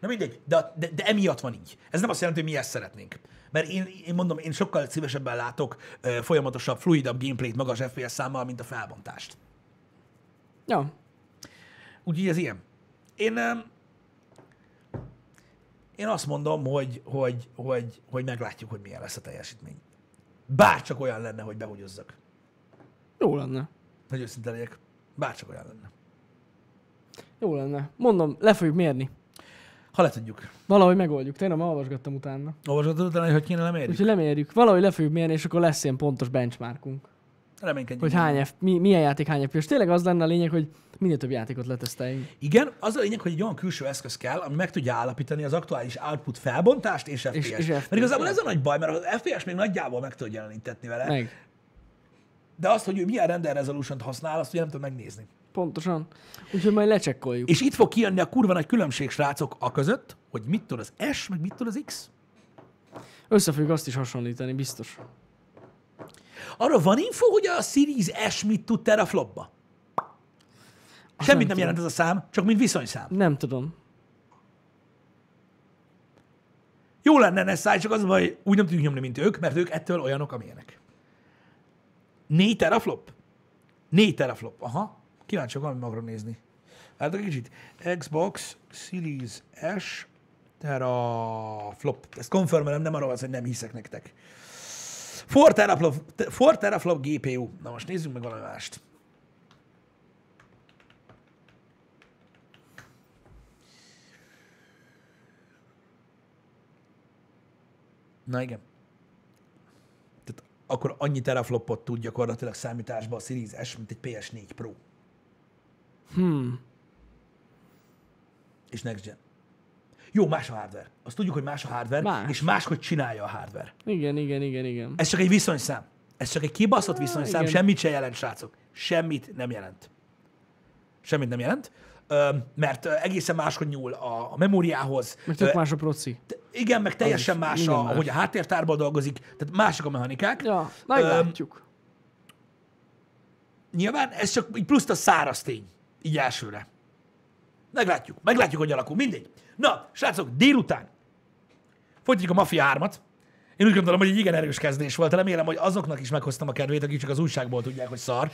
Na mindegy, de, de, de emiatt van így. Ez nem azt jelenti, hogy mi ezt szeretnénk. Mert én, én mondom, én sokkal szívesebben látok ö, folyamatosabb, fluidabb gameplayt magas FPS számmal, mint a felbontást. Ja. Úgyhogy ez ilyen. Én, ö, én azt mondom, hogy, hogy, hogy, hogy meglátjuk, hogy milyen lesz a teljesítmény. Bárcsak olyan lenne, hogy behugyozzak. Jó lenne. Hogy őszinte legyek. Bárcsak olyan lenne. Jó lenne. Mondom, le fogjuk mérni. Ha le tudjuk. Valahogy megoldjuk. Tegnap már olvasgattam utána. Olvasgatod utána, hogy kéne lemérjük? Úgyhogy lemérjük. Valahogy le fogjuk mérni, és akkor lesz ilyen pontos benchmarkunk. Reménykedjünk. Hogy hány F, mi, milyen játék hány FPS. Tényleg az lenne a lényeg, hogy minél több játékot leteszteljünk. Igen, az a lényeg, hogy egy olyan külső eszköz kell, ami meg tudja állapítani az aktuális output felbontást és FPS. És- és Mert FPS, igazából ja. ez a nagy baj, mert az FPS még nagyjából meg tudod jelenítetni vele, meg. Meg. de azt, hogy ő milyen render resolution használ, azt ugye nem tudom megnézni. Pontosan. Úgyhogy majd lecsekkoljuk. És itt fog kijönni a kurva nagy különbség, srácok, a között, hogy mit tud az S, meg mit tud az X. Össze fogjuk azt is hasonlítani, biztos. Arra van info, hogy a Series S mit tud teraflopba? Semmit nem, tudom. jelent ez a szám, csak mint viszonyszám. Nem tudom. Jó lenne NSI, csak az a baj, úgy nem tudjuk nyomni, mint ők, mert ők ettől olyanok, amilyenek. Négy teraflop? Négy teraflop, aha. Kíváncsi vagyok, magra nézni. Várjátok egy kicsit. Xbox Series S teraflop. Ezt konfirmelem, nem arról van, szó, hogy nem hiszek nektek. 4 teraflop, 4 teraflop GPU. Na most nézzünk meg valami mást. Na igen. Tehát akkor annyi teraflopot tud gyakorlatilag számításba a Series S, mint egy PS4 Pro. Hmm. És Next Gen. Jó, más a hardware. Azt tudjuk, hogy más a hardware, más. Más. és máshogy csinálja a hardware. Igen, igen, igen, igen. Ez csak egy viszonyszám. Ez csak egy kibaszott viszonyszám, igen. semmit se jelent, srácok. Semmit nem jelent. Semmit nem jelent. ö, mert ö, egészen máshogy nyúl a, a memóriához. Meg Ö, tök más a proci. Igen, meg teljesen más, a, minden más. hogy a háttértárban dolgozik, tehát mások a mechanikák. Ja, Öm, meglátjuk. Nyilván ez csak így plusz a száraz tény, így elsőre. Meglátjuk, meglátjuk, hogy alakul, mindegy. Na, srácok, délután folytatjuk a Mafia 3 Én úgy gondolom, hogy egy igen erős kezdés volt. Remélem, hogy azoknak is meghoztam a kedvét, akik csak az újságból tudják, hogy szar.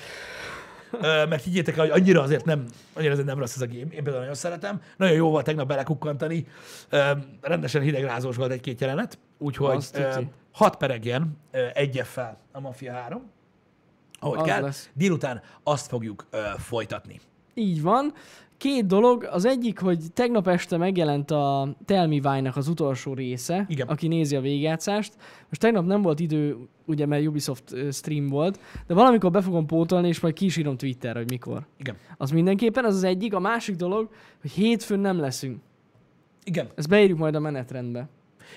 Ö, mert higgyétek el, hogy annyira azért nem, annyira azért nem rossz ez a game. Én például nagyon szeretem. Nagyon jó volt tegnap belekukkantani. Ö, rendesen hidegrázós volt egy-két jelenet. Úgyhogy Az ö, tuti. hat peregjen ö, egy fel a Mafia 3. Ahogy Az kell. lesz. Délután azt fogjuk ö, folytatni. Így van. Két dolog. Az egyik, hogy tegnap este megjelent a Tell Me Why-nak az utolsó része, Igen. aki nézi a végjátszást. Most tegnap nem volt idő, ugye, mert Ubisoft ö, stream volt, de valamikor be fogom pótolni, és majd ki is írom Twitterre, hogy mikor. Igen. Az mindenképpen, az az egyik. A másik dolog, hogy hétfőn nem leszünk. Igen. Ezt beírjuk majd a menetrendbe.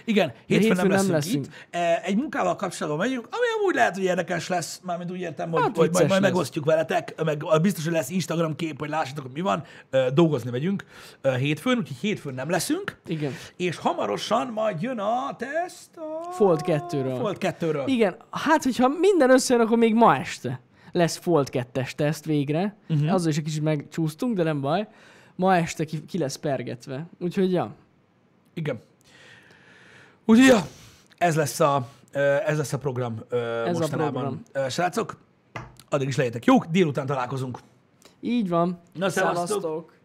Igen, hétfőn, nem hétfőn leszünk, nem itt. E, Egy munkával kapcsolatban megyünk, ami amúgy lehet, hogy érdekes lesz, mármint úgy értem, hogy, Hát hogy majd, vicces majd lesz. megosztjuk veletek, meg biztos, hogy lesz Instagram kép, hogy lássátok, hogy mi van, Ö, dolgozni megyünk ö, hétfőn, úgyhogy hétfőn nem leszünk, Igen. és hamarosan majd jön a teszt a... Fold 2-ről. Fold 2-ről. Igen, hát hogyha minden összejön, akkor még ma este lesz Fold 2-es teszt végre. Mhm. Uh-huh. Azzal is egy kicsit megcsúsztunk, de nem baj. Ma este ki, ki lesz pergetve. Úgyhogy ja, Igen. Úgyhogy, ja, ez lesz a, ö, ez lesz a program ö, Ez a mostanában. program. Ö, Srácok, addig is legyetek jók, délután találkozunk. így van. Na, szevasztok! Szevasztok.